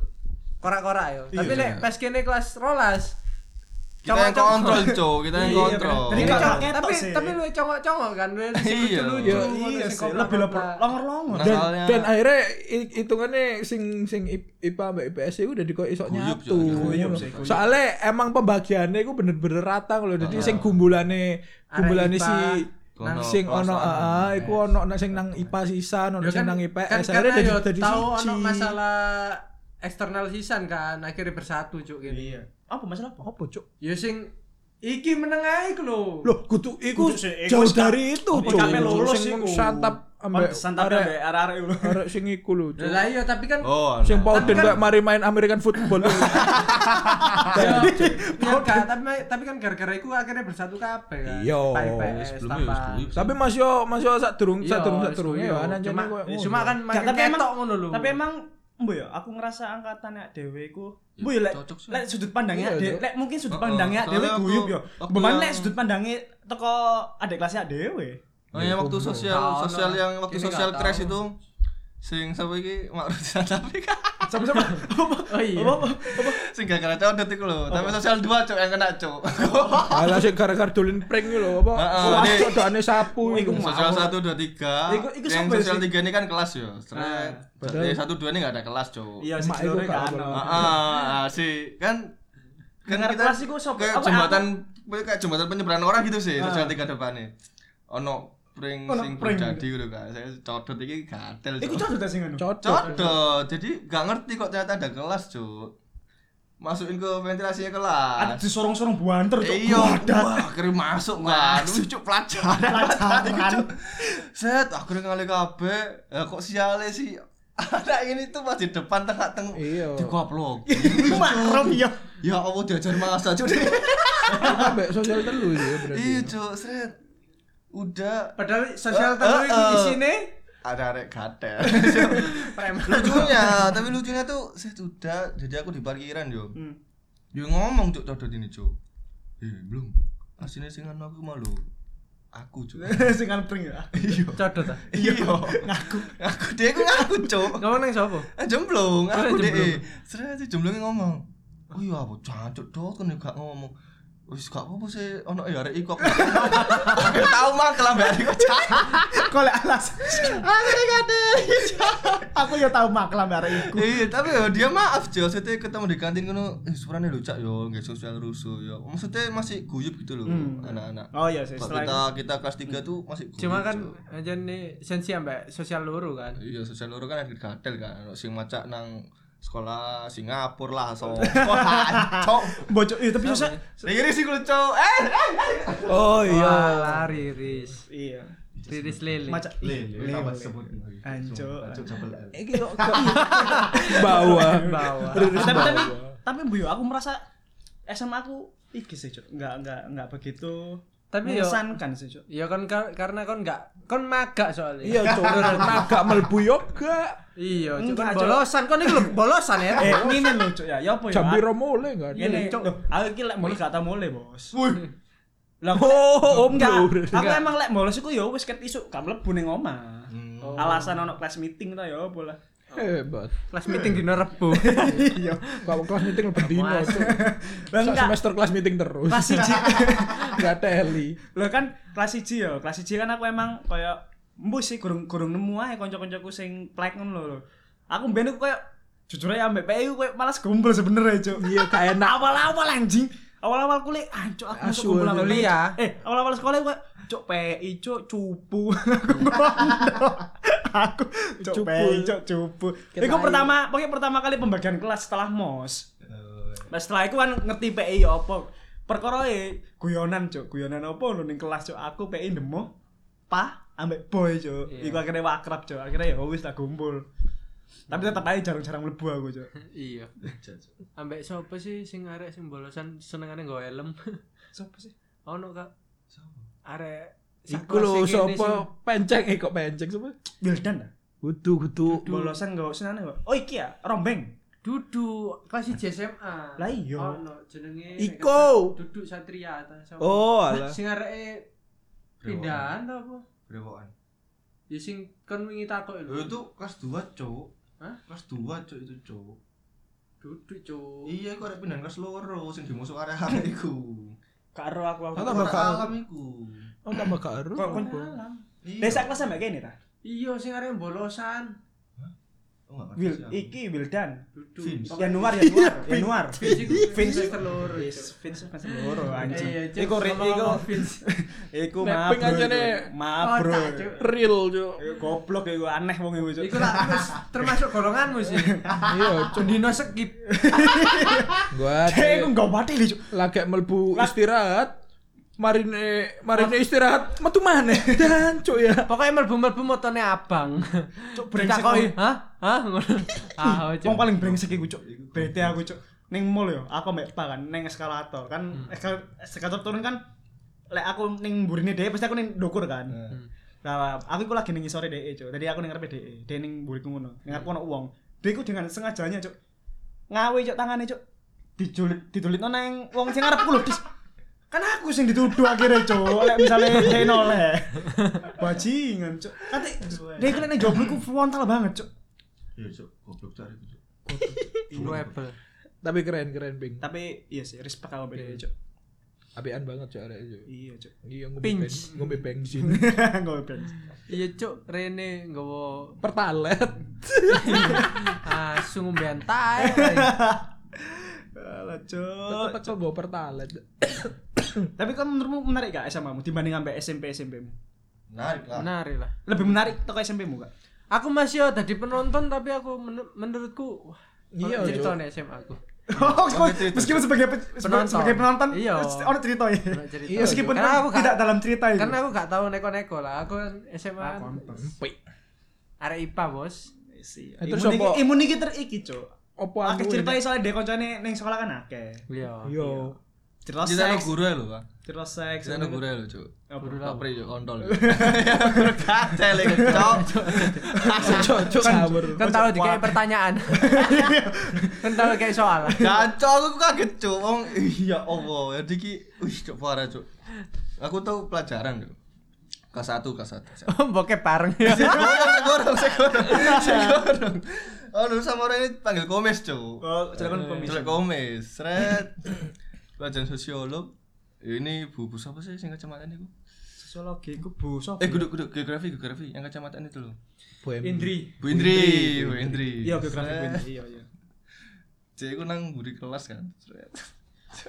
Speaker 3: korak-korak yo. Tapi
Speaker 1: Iya.
Speaker 3: nek pas kene kelas rolas
Speaker 4: kita yang
Speaker 3: congok-congok.
Speaker 4: kontrol cok, kita yang
Speaker 1: Iya,
Speaker 4: kontrol.
Speaker 1: bener. Jadi
Speaker 3: Iya,
Speaker 1: congok ketok
Speaker 3: tapi
Speaker 1: sih.
Speaker 3: tapi lu congok-congok kan lu sing
Speaker 4: Iya.
Speaker 3: lucu-lucu,
Speaker 2: Iya,
Speaker 3: ngono,
Speaker 1: Iya
Speaker 3: sing
Speaker 1: sih,
Speaker 3: koprak-koprak.
Speaker 1: lebih lapor- longer-longer.
Speaker 4: Nah,
Speaker 2: dan,
Speaker 4: Soalnya-
Speaker 2: dan akhirnya i- hitungannya sing sing I- IPA mbak IPS itu udah dikoi iso
Speaker 4: Guyub,
Speaker 2: nyatu.
Speaker 4: Cok.
Speaker 1: Guyub sih, guyub.
Speaker 2: Soalnya emang pembagiannya itu bener-bener rata loh. Jadi sing gumbulane gumbulane
Speaker 3: IPA,
Speaker 2: si
Speaker 4: nang
Speaker 2: sing ono heeh iku ono nang sing nang IPA sisa, ono
Speaker 3: Ya
Speaker 2: sing
Speaker 3: kan,
Speaker 2: nang
Speaker 3: kan
Speaker 1: E
Speaker 2: IPS.
Speaker 3: karena
Speaker 2: Akhirnya
Speaker 3: yo
Speaker 2: jadi jadi
Speaker 3: tahu
Speaker 2: siji.
Speaker 3: ono masalah eksternal sisan kan akhirnya bersatu cuk gini.
Speaker 1: Iya. Apa masalah apa?
Speaker 2: apa cuk?
Speaker 3: Yo sing iki meneng ae iku lho.
Speaker 2: Loh, kudu iku
Speaker 1: Kudu sih, eh, iku
Speaker 2: jauh
Speaker 1: wis ka-
Speaker 2: dari itu
Speaker 1: iku
Speaker 2: cuk.
Speaker 1: kape lulus
Speaker 2: Sing
Speaker 1: iku.
Speaker 2: santap ambek
Speaker 1: Santap
Speaker 2: arek-
Speaker 1: ambek arek-arek lu.
Speaker 2: arek sing iku lho cuk.
Speaker 3: Lah iya tapi kan
Speaker 4: Oh,
Speaker 2: Sing
Speaker 4: nah.
Speaker 2: Pauden kayak mari main American football.
Speaker 3: Ya, gak, tapi tapi kan gara-gara iku akhirnya bersatu kabeh kan.
Speaker 2: Iya.
Speaker 3: Pak IPS
Speaker 4: Sebelumnya
Speaker 3: tambah. Iya,
Speaker 4: wis guyub sih.
Speaker 2: Tapi Mas yo, Mas yo sak durung, sak durung, sak
Speaker 3: wis
Speaker 2: durung
Speaker 3: guyub.
Speaker 2: ya. Anak
Speaker 3: Cuma-
Speaker 2: koyo
Speaker 3: Cuma kan
Speaker 1: Gak,
Speaker 3: makin
Speaker 1: tapi emang
Speaker 3: ketok ngono lho.
Speaker 1: Tapi emang Mbo ya, aku ngerasa angkatan ya dhewe iku.
Speaker 4: Ya,
Speaker 1: Mbo ya lek
Speaker 4: cocok sih.
Speaker 1: lek sudut pandangnya
Speaker 2: Iya,
Speaker 1: dhewe,
Speaker 2: Cok.
Speaker 1: lek mungkin sudut
Speaker 4: Heeh,
Speaker 1: pandangnya dhewe
Speaker 4: soalnya aku-
Speaker 1: guyub ya.
Speaker 4: aku
Speaker 1: Beman
Speaker 4: yang-
Speaker 1: lek sudut pandangnya teko adik kelasnya dhewe.
Speaker 4: Oh iya waktu sosial
Speaker 3: Tahu, no.
Speaker 4: sosial yang waktu
Speaker 3: Nah, Ini
Speaker 4: sosial
Speaker 3: nggak
Speaker 4: crash
Speaker 3: tahu.
Speaker 4: itu sing sapa iki makruf tapi
Speaker 1: Sama-sama.
Speaker 3: Oh iya.
Speaker 1: Apa?
Speaker 4: sing gak kena cowok detik lho. Tapi sosial dua cok yang kena cok.
Speaker 2: Alah Ah, sing gara-gara dolin prank iki lho apa?
Speaker 4: Heeh,
Speaker 2: Wah,
Speaker 4: ini-
Speaker 2: cok doane sapu iku.
Speaker 4: sosial satu dua tiga.
Speaker 1: Iku- iku
Speaker 4: Yang
Speaker 1: sampai
Speaker 4: sosial
Speaker 1: sih. Ah,
Speaker 4: tiga ini kan kelas yo. Seret.
Speaker 2: Padahal-
Speaker 4: Jadi satu dua ini gak ada kelas cok.
Speaker 1: Iya, sih
Speaker 2: Emak iku
Speaker 1: jurure
Speaker 2: gak
Speaker 1: kan.
Speaker 2: apa-apa.
Speaker 4: Ah, ah, si kan kan
Speaker 1: Dengar
Speaker 4: kita
Speaker 1: kelas iku sop- apa,
Speaker 4: kayak
Speaker 1: Ah.
Speaker 4: jembatan kayak jembatan penyeberangan orang gitu sih sosial tiga depannya. Ono pring
Speaker 1: Ono
Speaker 4: sing
Speaker 1: pring.
Speaker 4: jadi gitu kan. Saya codot iki gatel.
Speaker 1: Iku
Speaker 4: Cok.
Speaker 1: cocok ta sing ngono.
Speaker 2: Cocok.
Speaker 4: Codot. Jadi gak ngerti kok ternyata ada kelas, Cuk. Masukin ke ventilasinya
Speaker 1: Ada
Speaker 4: kelas.
Speaker 1: di sorong-sorong buanter cok.
Speaker 4: Iya,
Speaker 1: Wadah.
Speaker 4: wah, akhirnya masuk kan. Lu cuk pelajaran.
Speaker 1: Pelajaran.
Speaker 4: Cuk. Set, akhirnya ngalih kabeh. Eh, kok siale sih? Anak ini tuh pas di depan tengah-tengah.
Speaker 2: Iya.
Speaker 4: Digoblok.
Speaker 1: Makrom ya.
Speaker 4: ya Allah diajar masa, Cuk.
Speaker 2: Kita mbek sosial telu sih berarti.
Speaker 4: Iya, Cuk, set. Udah
Speaker 3: Padahal
Speaker 4: Eh,
Speaker 3: sosial telu
Speaker 4: eh,
Speaker 3: iki
Speaker 4: eh.
Speaker 3: isine
Speaker 4: arek-arek gatel. lucunya, tapi lucunya tuh set udah jadi aku di parkiran yo.
Speaker 1: Hmm.
Speaker 4: Dia ngomong cuk codot ini cuk. Eh belum. Aslinya sing anu aku malu. Aku cuk.
Speaker 1: Sing kan pring ya.
Speaker 4: Iya.
Speaker 3: codot ah.
Speaker 4: Iya. Ngaku. Aku dia aku ngaku cuk.
Speaker 3: Ngomong nang sapa?
Speaker 4: Ah jemblung,
Speaker 3: Oh,
Speaker 4: aku deh.
Speaker 3: jemblung.
Speaker 4: Sering aja jemblungnya ngomong. Oh iya apa cancuk dot kan gak ngomong. Wis gak apa-apa sih ono ya arek iku. aku gak tau. Tau mah kelambe arek iku cancuk.
Speaker 1: Kok lek alas.
Speaker 4: Arek gade.
Speaker 1: Aku ya tau maklam arek iku.
Speaker 4: Iya, tapi ya dia maaf Jo, maksudnya ketemu di kantin kono, eh sebenarnya lucak yo, nggak sosial rusuh yo. Maksudnya masih guyub gitu loh
Speaker 1: Hmm.
Speaker 4: anak-anak.
Speaker 1: Oh iya sih,
Speaker 4: Kalau
Speaker 1: setelah
Speaker 4: kita kita kelas 3 tuh masih guyub,
Speaker 3: Cuma kan
Speaker 4: Jo.
Speaker 3: anjen nih sensi ambek sosial loro kan.
Speaker 4: iya sosial loro kan ada gatel kan, Ono sing macak nang sekolah Singapura lah so. Sekolah, Cok.
Speaker 1: bocok iya tapi susah.
Speaker 4: Ini sih kulo Cok. Eh, eh.
Speaker 2: Oh iya.
Speaker 3: Walah Riris.
Speaker 1: Iya.
Speaker 3: Riris Lele.
Speaker 1: Macak
Speaker 4: Lele, apa sebut?
Speaker 1: Anco.
Speaker 2: Iki kok kok bawah.
Speaker 3: Iya. Bawah.
Speaker 1: tapi tapi tapi Bu Yo, aku merasa SMA aku iki sih cok nggak nggak nggak begitu
Speaker 3: Tapi yo
Speaker 1: mengesankan sih
Speaker 3: Iya,
Speaker 1: cok
Speaker 3: Ya kan kar- karena kon gak kon maga soalnya.
Speaker 2: Iya, cok. Maga melbu yoga.
Speaker 3: Iya,
Speaker 1: Mungkin,
Speaker 3: cuma
Speaker 1: Cuk.
Speaker 3: bolosan kok niku lho, bolosan ya.
Speaker 1: Eh, ngene lho, Cuk, ya. Ya apa ya?
Speaker 2: Jambi Romole enggak ada.
Speaker 1: Ngene,
Speaker 3: Cuk.
Speaker 1: Cuk. Aku iki lek mulai gak tau mulai, Bos. Lah
Speaker 2: Oh,
Speaker 1: enggak.
Speaker 2: oblur.
Speaker 1: Aku emang lek bolos iku ya wis ket isuk gak mlebu ning omah.
Speaker 4: Hmm.
Speaker 1: Alasan ono kelas meeting ta ya bola.
Speaker 2: Hebat.
Speaker 3: Kelas meeting dino Rebo.
Speaker 1: Iya.
Speaker 2: Kalau kelas meeting lebih dino.
Speaker 3: Masuk.
Speaker 2: Cuk.
Speaker 1: Lah
Speaker 2: Sak
Speaker 1: enggak. iya.
Speaker 2: semester kelas meeting terus.
Speaker 1: Kelas 1.
Speaker 2: Enggak teli.
Speaker 1: Lah kan kelas 1 ya. Kelas 1 kan aku emang koyo embus sih gurung gurung nemu ae kanca-kancaku sing plek ngono lho. Aku mbiyen aku koyo jujur ae ambek PE koyo malas gombel sebenernya, Cuk.
Speaker 2: Iya, gak enak.
Speaker 1: Awal-awal anjing. Awal-awal kuliah, anjuk aku
Speaker 2: Asu,
Speaker 1: masuk kumpul
Speaker 3: kuliah.
Speaker 1: Eh, awal-awal sekolah gue cuk PI, cuk cupu. Aku ngono. Aku cuk
Speaker 2: Cupu.
Speaker 1: PI, cuk cupu.
Speaker 2: Ketai.
Speaker 1: Iku pertama, pokoknya pertama kali pembagian kelas setelah MOS. Nah, setelah itu kan ngerti PI ya apa. Perkara e guyonan cuk, guyonan apa lho ning kelas cuk aku PI demo. Pa ambek boy cuk.
Speaker 3: Iya.
Speaker 1: Iku akhirnya wakrab cuk. Akhirnya ya wis tak kumpul. Tapi tetap aja jarang-jarang mlebu aku cuk.
Speaker 3: Iya. Ambek sapa sih sing arek sing bolosan senengane nggo helm?
Speaker 1: Sopo sih?
Speaker 3: Ono Kak. Arek
Speaker 2: Iku lho sapa penceng eh kok penceng sapa?
Speaker 1: Wildan ta?
Speaker 2: Kudu kudu.
Speaker 1: bolosan gak usah nane kok. Oh iki ya, rombeng.
Speaker 3: Dudu kelas 1 SMA.
Speaker 1: Lah iya.
Speaker 3: Ono jenenge
Speaker 2: Iko.
Speaker 3: Dudu Satria ta sapa?
Speaker 2: Oh, alah.
Speaker 3: Sing areke pindahan ta apa?
Speaker 4: Brewokan.
Speaker 3: Ya sing kon wingi takok
Speaker 4: Lho
Speaker 3: lho.
Speaker 4: itu kelas 2, Cuk.
Speaker 3: Hah?
Speaker 4: Kelas 2, Cuk itu, Cuk.
Speaker 3: Dudu, Cuk.
Speaker 4: Iya, kok arek pindahan kelas loro sing dimusuh arek-arek iku.
Speaker 1: Karo aku aku.
Speaker 2: Kau tambah
Speaker 4: Ora
Speaker 2: bakal-
Speaker 4: salam iku.
Speaker 2: Oh, tambah gak ero.
Speaker 1: Kok kon
Speaker 4: Iya.
Speaker 1: desa kelas sampe kene ta?
Speaker 3: Iya, sing arek bolosan.
Speaker 4: Oh, nggak ngerti
Speaker 1: Wil
Speaker 4: sih aku.
Speaker 1: iki Wildan.
Speaker 3: Dudu.
Speaker 4: Fins.
Speaker 3: Pokoknya-
Speaker 1: Januar Januar Januar.
Speaker 3: Vince
Speaker 1: Vince
Speaker 3: telur.
Speaker 1: Yes, Vince masih loro
Speaker 3: Iya,
Speaker 1: anjing.
Speaker 3: Cuk.
Speaker 1: Iku ri- iku
Speaker 3: Ngomong-ngomong Vince.
Speaker 1: iku
Speaker 2: Mapping
Speaker 1: maaf bro.
Speaker 2: aja
Speaker 1: iku.
Speaker 2: nih.
Speaker 1: Maaf
Speaker 3: Oh,
Speaker 1: bro.
Speaker 3: tak, Cuk.
Speaker 2: Real, Cuk.
Speaker 1: Iku goblok iku aneh wong iku Cuk.
Speaker 3: Iku lah terus termasuk golonganmu sih.
Speaker 2: Iya, Cuk.
Speaker 3: Dino skip.
Speaker 2: Gua
Speaker 1: Cek iku gak pati lho Cuk.
Speaker 2: lagi melbu
Speaker 1: Lah-
Speaker 2: istirahat. Marine marine istirahat metu maneh. Dan Cuk ya.
Speaker 3: Pokoknya melbu-melbu motone abang.
Speaker 1: Cuk brengsek.
Speaker 3: Ditakoki, "Hah? Hah?" Ngono. Ah,
Speaker 1: Wong paling brengsek iku Cuk. Bete aku Cuk. Ning mall yo, aku mbek pa kan ning eskalator kan eskal- eskalator turun kan lek aku ning mburine dhewe pasti aku ning ndukur kan. Nah, aku iku lagi ning sore DE, Cuk. Tadi aku ning ngarepe DE, DE ning mburiku ngono. Ning aku ono wong. DE ku dengan sengajanya, Cuk. Ngawi, Cuk, tangane, Cuk. Dijulit, ditulitno nang wong sing ngarepku lho, Dis. Kan aku sing dituduh akhirnya, Cuk. Lek misale DE noleh. Bajingan, Cuk. Kate DE ku lek ning jobo iku frontal banget, Cuk.
Speaker 4: Iya, Cuk. Goblok cari iku, Cuk.
Speaker 3: Rebel.
Speaker 2: Tapi keren-keren ping.
Speaker 1: Tapi iya sih, respect sama DE, Cuk.
Speaker 2: Apian banget Cuk arek Cuk.
Speaker 1: Iya, Cuk.
Speaker 2: Iya, ngombe
Speaker 3: Ping.
Speaker 2: bensin, ngombe bensin.
Speaker 1: Ngobeng.
Speaker 3: Iya, Cuk, Rene nggawa
Speaker 2: Pertalet.
Speaker 3: asu ngombean Ah, tae.
Speaker 1: Alah, Oh, Cuk.
Speaker 2: Tetep gua pertalet.
Speaker 1: Tapi kan menurutmu menarik gak SMA-mu dibanding sampai SMP SMP-mu?
Speaker 4: Menarik lah.
Speaker 3: Menarik lah.
Speaker 1: Lebih menarik toko SMP-mu, Kak?
Speaker 3: Aku masih yo dadi penonton tapi aku menur- menurutku wah,
Speaker 2: Iya,
Speaker 3: ono cerita
Speaker 2: Cuk.
Speaker 3: nih SMA aku.
Speaker 1: Oh,
Speaker 4: Sampai
Speaker 1: kok-
Speaker 4: cerita.
Speaker 1: meskipun sebagai pe- sebe-
Speaker 3: Penonton.
Speaker 1: sebagai penonton,
Speaker 3: Iya.
Speaker 1: ono cerita ya.
Speaker 3: Ono cerita.
Speaker 1: Iya, meskipun
Speaker 3: Karena
Speaker 1: kan
Speaker 3: aku gak-
Speaker 1: tidak dalam cerita itu.
Speaker 3: Karena aku gak tahu neko-neko lah. Aku kan SMA
Speaker 1: Ah,
Speaker 3: kan
Speaker 1: konten.
Speaker 2: Empik.
Speaker 3: arek IPA, Bos.
Speaker 1: Iya.
Speaker 2: Eh, terus
Speaker 1: Imun iki
Speaker 2: apa?
Speaker 1: imun iki teriki, Cuk.
Speaker 2: Opo
Speaker 1: Akeh
Speaker 2: aku Iya.
Speaker 1: ceritanya soalnya dia koncone ning sekolah kan akeh.
Speaker 3: Iya.
Speaker 2: Yo.
Speaker 1: Cerita
Speaker 4: Cerita no
Speaker 1: seks,
Speaker 4: guru ya lho, Pak.
Speaker 1: cerita seks.
Speaker 4: Cerita no Oh, guru ya lho, Cuk.
Speaker 1: Apa?
Speaker 4: Tak pri, Cuk, kontol. Cuk. Guru kacel iku, Cuk.
Speaker 2: Cocok sahur.
Speaker 1: Iya.
Speaker 3: Kan tahu dikei pertanyaan. kan tahu kayak soal.
Speaker 4: Kacau aku kaget cuk, wong iya Allah, ya diki wih cuk parah cuk. Aku tau pelajaran cuk. Kelas 1, kelas 1.
Speaker 1: Oh,
Speaker 3: Bokep bareng.
Speaker 4: Segorong, segorong, segorong. Segorong. Oh, dulu sama orang ini panggil komes cuk.
Speaker 1: Oh, cerita kan komisi.
Speaker 4: Jelek komes, seret. Pelajaran sosiolog. Ini bu, bu siapa sih yang kacamataan itu?
Speaker 1: Sosiologi ku Bu Sofi.
Speaker 4: Eh, guduk, guduk, geografi, geografi, yang kacamataan itu loh.
Speaker 1: Indri.
Speaker 4: Bu Indri, Bu Indri.
Speaker 1: Iya, geografi Bu
Speaker 4: Sret.
Speaker 1: Indri, iya iya.
Speaker 4: Jadi aku nang buri kelas kan. Sret.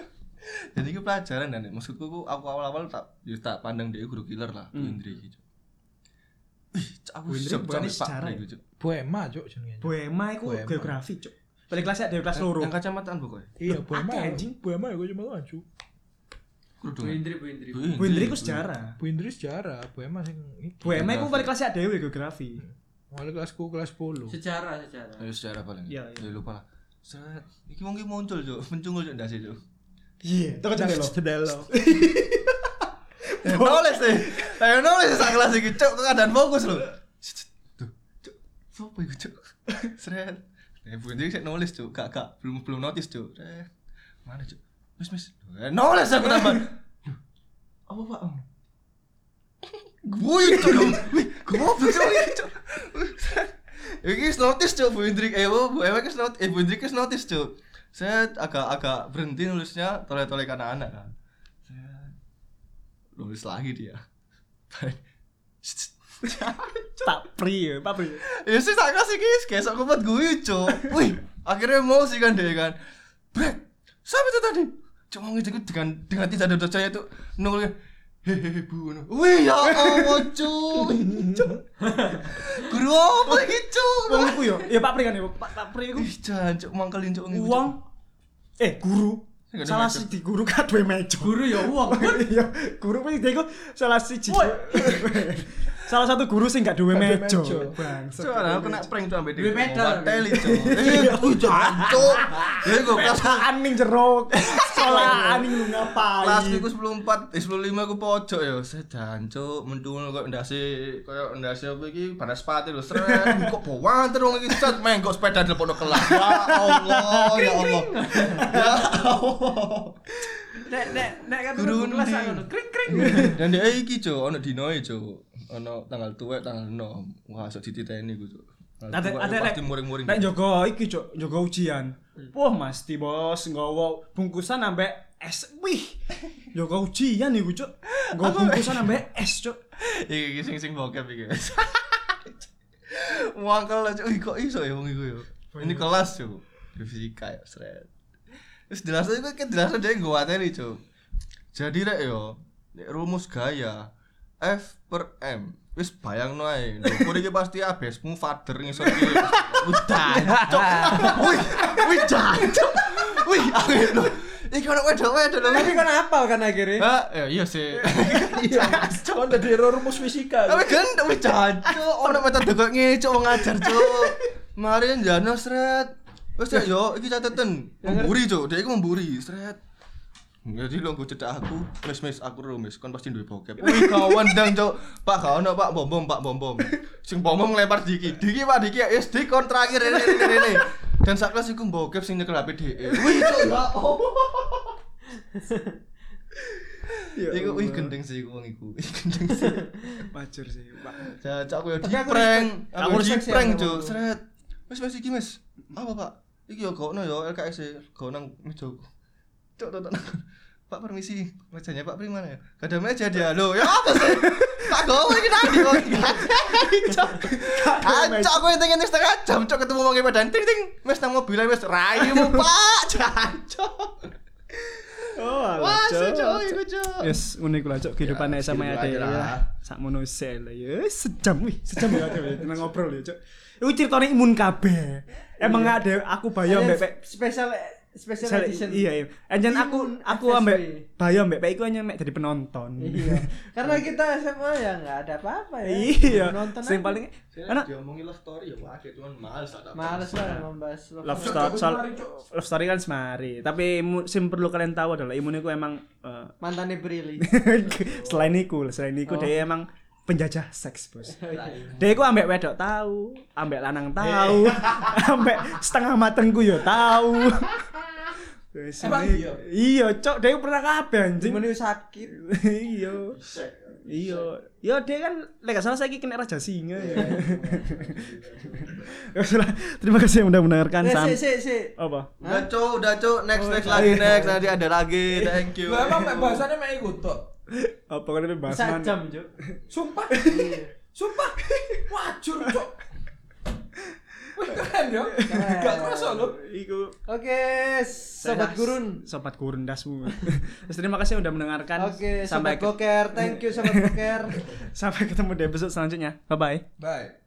Speaker 4: Jadi itu pelajaran dan maksudku aku, aku awal-awal tak ya tak pandang dia guru killer lah, Bu Indri gitu. Ih, cak, aku
Speaker 1: Bu Hmm. Indri
Speaker 4: siap
Speaker 1: bukannya
Speaker 4: sampai Pak
Speaker 1: sejarah
Speaker 4: Pri
Speaker 1: ya?
Speaker 4: gitu.
Speaker 2: Buema cuk jenenge.
Speaker 1: Bu Ema iku
Speaker 2: Bu Ema.
Speaker 1: geografi, Cuk. Paling kelasnya dari kelas loro.
Speaker 4: Yang kacamataan pokoknya.
Speaker 2: Iya,
Speaker 1: Loh,
Speaker 2: Buema.
Speaker 1: akeh, anjing.
Speaker 2: Buema ya gua cuma kan cuk.
Speaker 4: Kerudung.
Speaker 3: Bu Indri, Bu Indri.
Speaker 1: Bu Indri ku sejarah.
Speaker 2: Bu Indri sejarah, Buema sing iki.
Speaker 1: Bu Ema iku paling kelasnya dhewe geografi.
Speaker 2: Mulai kelasku kelas 10.
Speaker 3: Sejarah, sejarah.
Speaker 4: Ya sejarah paling.
Speaker 1: Iya, iya.
Speaker 4: Ya lupa lah. Seret. Iki wong ki muncul, Cuk. Mencungul Cuk ndase, Cuk.
Speaker 1: Iya, toko jendela.
Speaker 2: Sedelo.
Speaker 4: Ya, Nulis deh. Lah ya nulis sak kelas iki, Cuk, keadaan fokus lho. Cuk, Cuk. sopo iku cuk seret nah ibu ini saya nulis cuk gak gak belum belum notice cuk seret mana cuk mis mis Eh, nulis aku tambah Duh, apa pak gue itu dong gue mau cuk Iki wis notice cuk Bu Indrik eh Bu Bu Ewek wis not- eh Bu Indrik wis notice cuk. Saya agak-agak berhenti nulisnya toleh-toleh ke anak-anak kan. Saya nulis lagi dia.
Speaker 1: Pak Pri ya, Pak Pri.
Speaker 4: ya sih tak kasih guys, besok kumpet gue cuk. Wih, akhirnya mau sih kan dia kan. Brek, siapa itu tadi? Cuma ngejenguk dengan dengan tidak ada percaya itu nungguin hehehe bu wih ya Allah cuk Cuk. guru apa ini cuk
Speaker 1: Wong iku yo, ya Pak Pri kan ya, Pak, Pak Pri iku
Speaker 4: Ih, jancuk mangkelin cuk ngiku, Cuk.
Speaker 1: uang eh guru.
Speaker 4: Nggak ada
Speaker 1: Salah
Speaker 4: meja.
Speaker 1: siji guru kadwe meja.
Speaker 3: Guru ya uang.
Speaker 1: Iya, guru kuwi dia iku salah siji. Salah satu guru sing gak duwe meja. Bangsat.
Speaker 4: Cuk, aku kena prank tuh ambil
Speaker 3: Duit medal.
Speaker 4: Teli cuk. Eh, gue jancuk. Ya gue kelas
Speaker 1: Sekolahan ning jero. Sekolahan ning lu ngapain?
Speaker 4: kelas gue sebelum empat, eh sebelum lima gue pojok ya. Saya jancuk, mendung kok ndasi, kok ndasi apa iki panas sepatu lho. Seret, kok bawaan terus iki set menggo sepeda di pondok kelas. Ya Allah, ya Allah. Ya Allah.
Speaker 3: Nek nek nek kan
Speaker 4: Guru
Speaker 3: guru kelas
Speaker 4: ndi?
Speaker 3: aku ngono. Kring kring.
Speaker 1: Iya.
Speaker 4: Dan dia iki cuk, ono dinoe cuk. Ono tanggal tuwek, tanggal 6. Wah, sok dititeni gue cuk.
Speaker 1: Ada ada
Speaker 4: pasti muring-muring.
Speaker 1: Nek jaga iki, Cuk, jaga ujian. Wah, mesti bos nggawa bungkusan ambek es. Wih. Jaga ujian iku, Cuk. Nggawa bungkusan ambek es, Cuk.
Speaker 4: Iki iki sing sing bokep iki. Wangkel aja, Ih, kok iso ya wong iku ya. Ini kelas yo. Di fisika ya, sret. Terus jelasan iku kan jelasan dia gua ateni, Cuk. Jadi rek yo, nek rumus gaya F per M. Wis bayangno ae. Dhuwur iki pasti abesmu fader ngisor iki. Udah. Cuk. Wih, wih jancuk. Wih, aku lho. Iki ono wedok-wedok lho.
Speaker 2: Tapi kan apal kan akhirnya?
Speaker 4: Ah, ya iya sih.
Speaker 2: Iya. Kan dari rumus fisika.
Speaker 4: Tapi gendeng wis jancuk, ono metode kok ngecuk wong ngajar, Cuk. Mari njano sret. Wis Cuk, yo iki catatan. Memburi, Cuk. Dia iku memburi, sret. Jadi lo gue cedak aku, mis mis aku rumis, kan pasti duwe bokep. Wih kawan dang cok, pak kawan pak bom bom pak bom bom. Sing bom bom ngelempar diki, diki pak diki SD kon terakhir ini ini ini, ini. Dan saat kelas iku bokep sing nyekel HP DE. E. Wih cok ya Allah. Iku wih gendeng sih iku wong iku. Ih, Gendeng sih.
Speaker 1: Majur sih, Pak.
Speaker 4: Jajak aku yo di prank, aku
Speaker 3: Aku
Speaker 4: di
Speaker 3: respect sih
Speaker 4: prank
Speaker 3: sama
Speaker 4: cuk,
Speaker 3: kamu.
Speaker 4: seret. Wis wis iki Mas. Apa Pak? Iki yo gaono yo LKS e, gaono nang meja. aku. Cuk tok tok. Pak permisi, mejanya Pak Pri mana ya? Gak ada meja dia. Loh, ya apa sih? Tak gawe iki tadi kok. Acak Ah, aku tengin ini setengah jam cuk ketemu wong e badan ting ting. Wis nang mobil ae, wis raimu Pak. Jancuk.
Speaker 1: Oh,
Speaker 4: Wah,
Speaker 1: alah,
Speaker 4: sih cuk
Speaker 1: Cuk.
Speaker 4: iku cuk.
Speaker 1: Yes, unik lah cok kehidupan
Speaker 4: Ya,
Speaker 1: SMA ya
Speaker 4: segitu aja
Speaker 1: deh.
Speaker 4: lah.
Speaker 1: Sak mono sel ya sejam wih, sejam ya Cuk. Tenang ngobrol ya cok. Iku ceritanya imun kabeh. Emang ada aku bayang Ah, iya,
Speaker 3: Ada
Speaker 1: mbek Pek.
Speaker 3: Special special
Speaker 1: Sel-
Speaker 3: edition.
Speaker 1: Iya, iya. Anjen aku
Speaker 3: Imun
Speaker 1: aku
Speaker 3: FSB.
Speaker 1: ambek bayang mbek Pek iku hanya mek jadi penonton.
Speaker 3: Iya. Karena kita SMA ya nggak ada apa-apa ya.
Speaker 1: iya
Speaker 3: Nonton
Speaker 1: sing
Speaker 3: aja.
Speaker 1: paling
Speaker 4: Karena
Speaker 1: enak
Speaker 4: diomongin love story ya, wah, cuman males ada.
Speaker 3: males lah membahas
Speaker 1: love story soal love story kan semari tapi imu- sing perlu kalian tahu adalah imun itu emang eh,
Speaker 3: Mantannya Brili.
Speaker 1: selain iku selain
Speaker 3: Oh.
Speaker 1: iku dia emang penjajah seks bos
Speaker 3: Iya.
Speaker 1: dia iku ambek wedok tahu ambek lanang tahu
Speaker 3: Iya.
Speaker 1: ambek setengah mateng ku yo tahu Wes,
Speaker 3: Emang
Speaker 1: ini-
Speaker 3: iya?
Speaker 1: iya cok dia pernah kabeh anjing
Speaker 3: Cuman itu sakit.
Speaker 1: iya iya iya dia kan lek gak salah saya kena raja singa ya
Speaker 3: Iya.
Speaker 1: Ya, sudah. terima kasih yang udah mendengarkan
Speaker 3: Eh,
Speaker 1: sam
Speaker 3: si, si, si.
Speaker 1: apa
Speaker 4: Udah cu, udah cu, next next lagi next nanti ada lagi, thank you.
Speaker 2: Lah emang mek bahasane mek iku tok.
Speaker 1: apa kan ini bahas
Speaker 3: Sak
Speaker 1: mana?
Speaker 3: jam, Cuk.
Speaker 2: Sumpah. Sumpah. Wajur, Cuk. Wih, keren yo. Gak kerasa lho.
Speaker 1: Iku
Speaker 3: Oke, sobat gurun.
Speaker 1: sobat gurun dasmu. Terus terima kasih udah mendengarkan.
Speaker 3: Oke,
Speaker 1: sampai
Speaker 3: sobat goker. Thank you sobat goker.
Speaker 1: sampai ketemu di episode selanjutnya. Bye bye.
Speaker 2: Bye.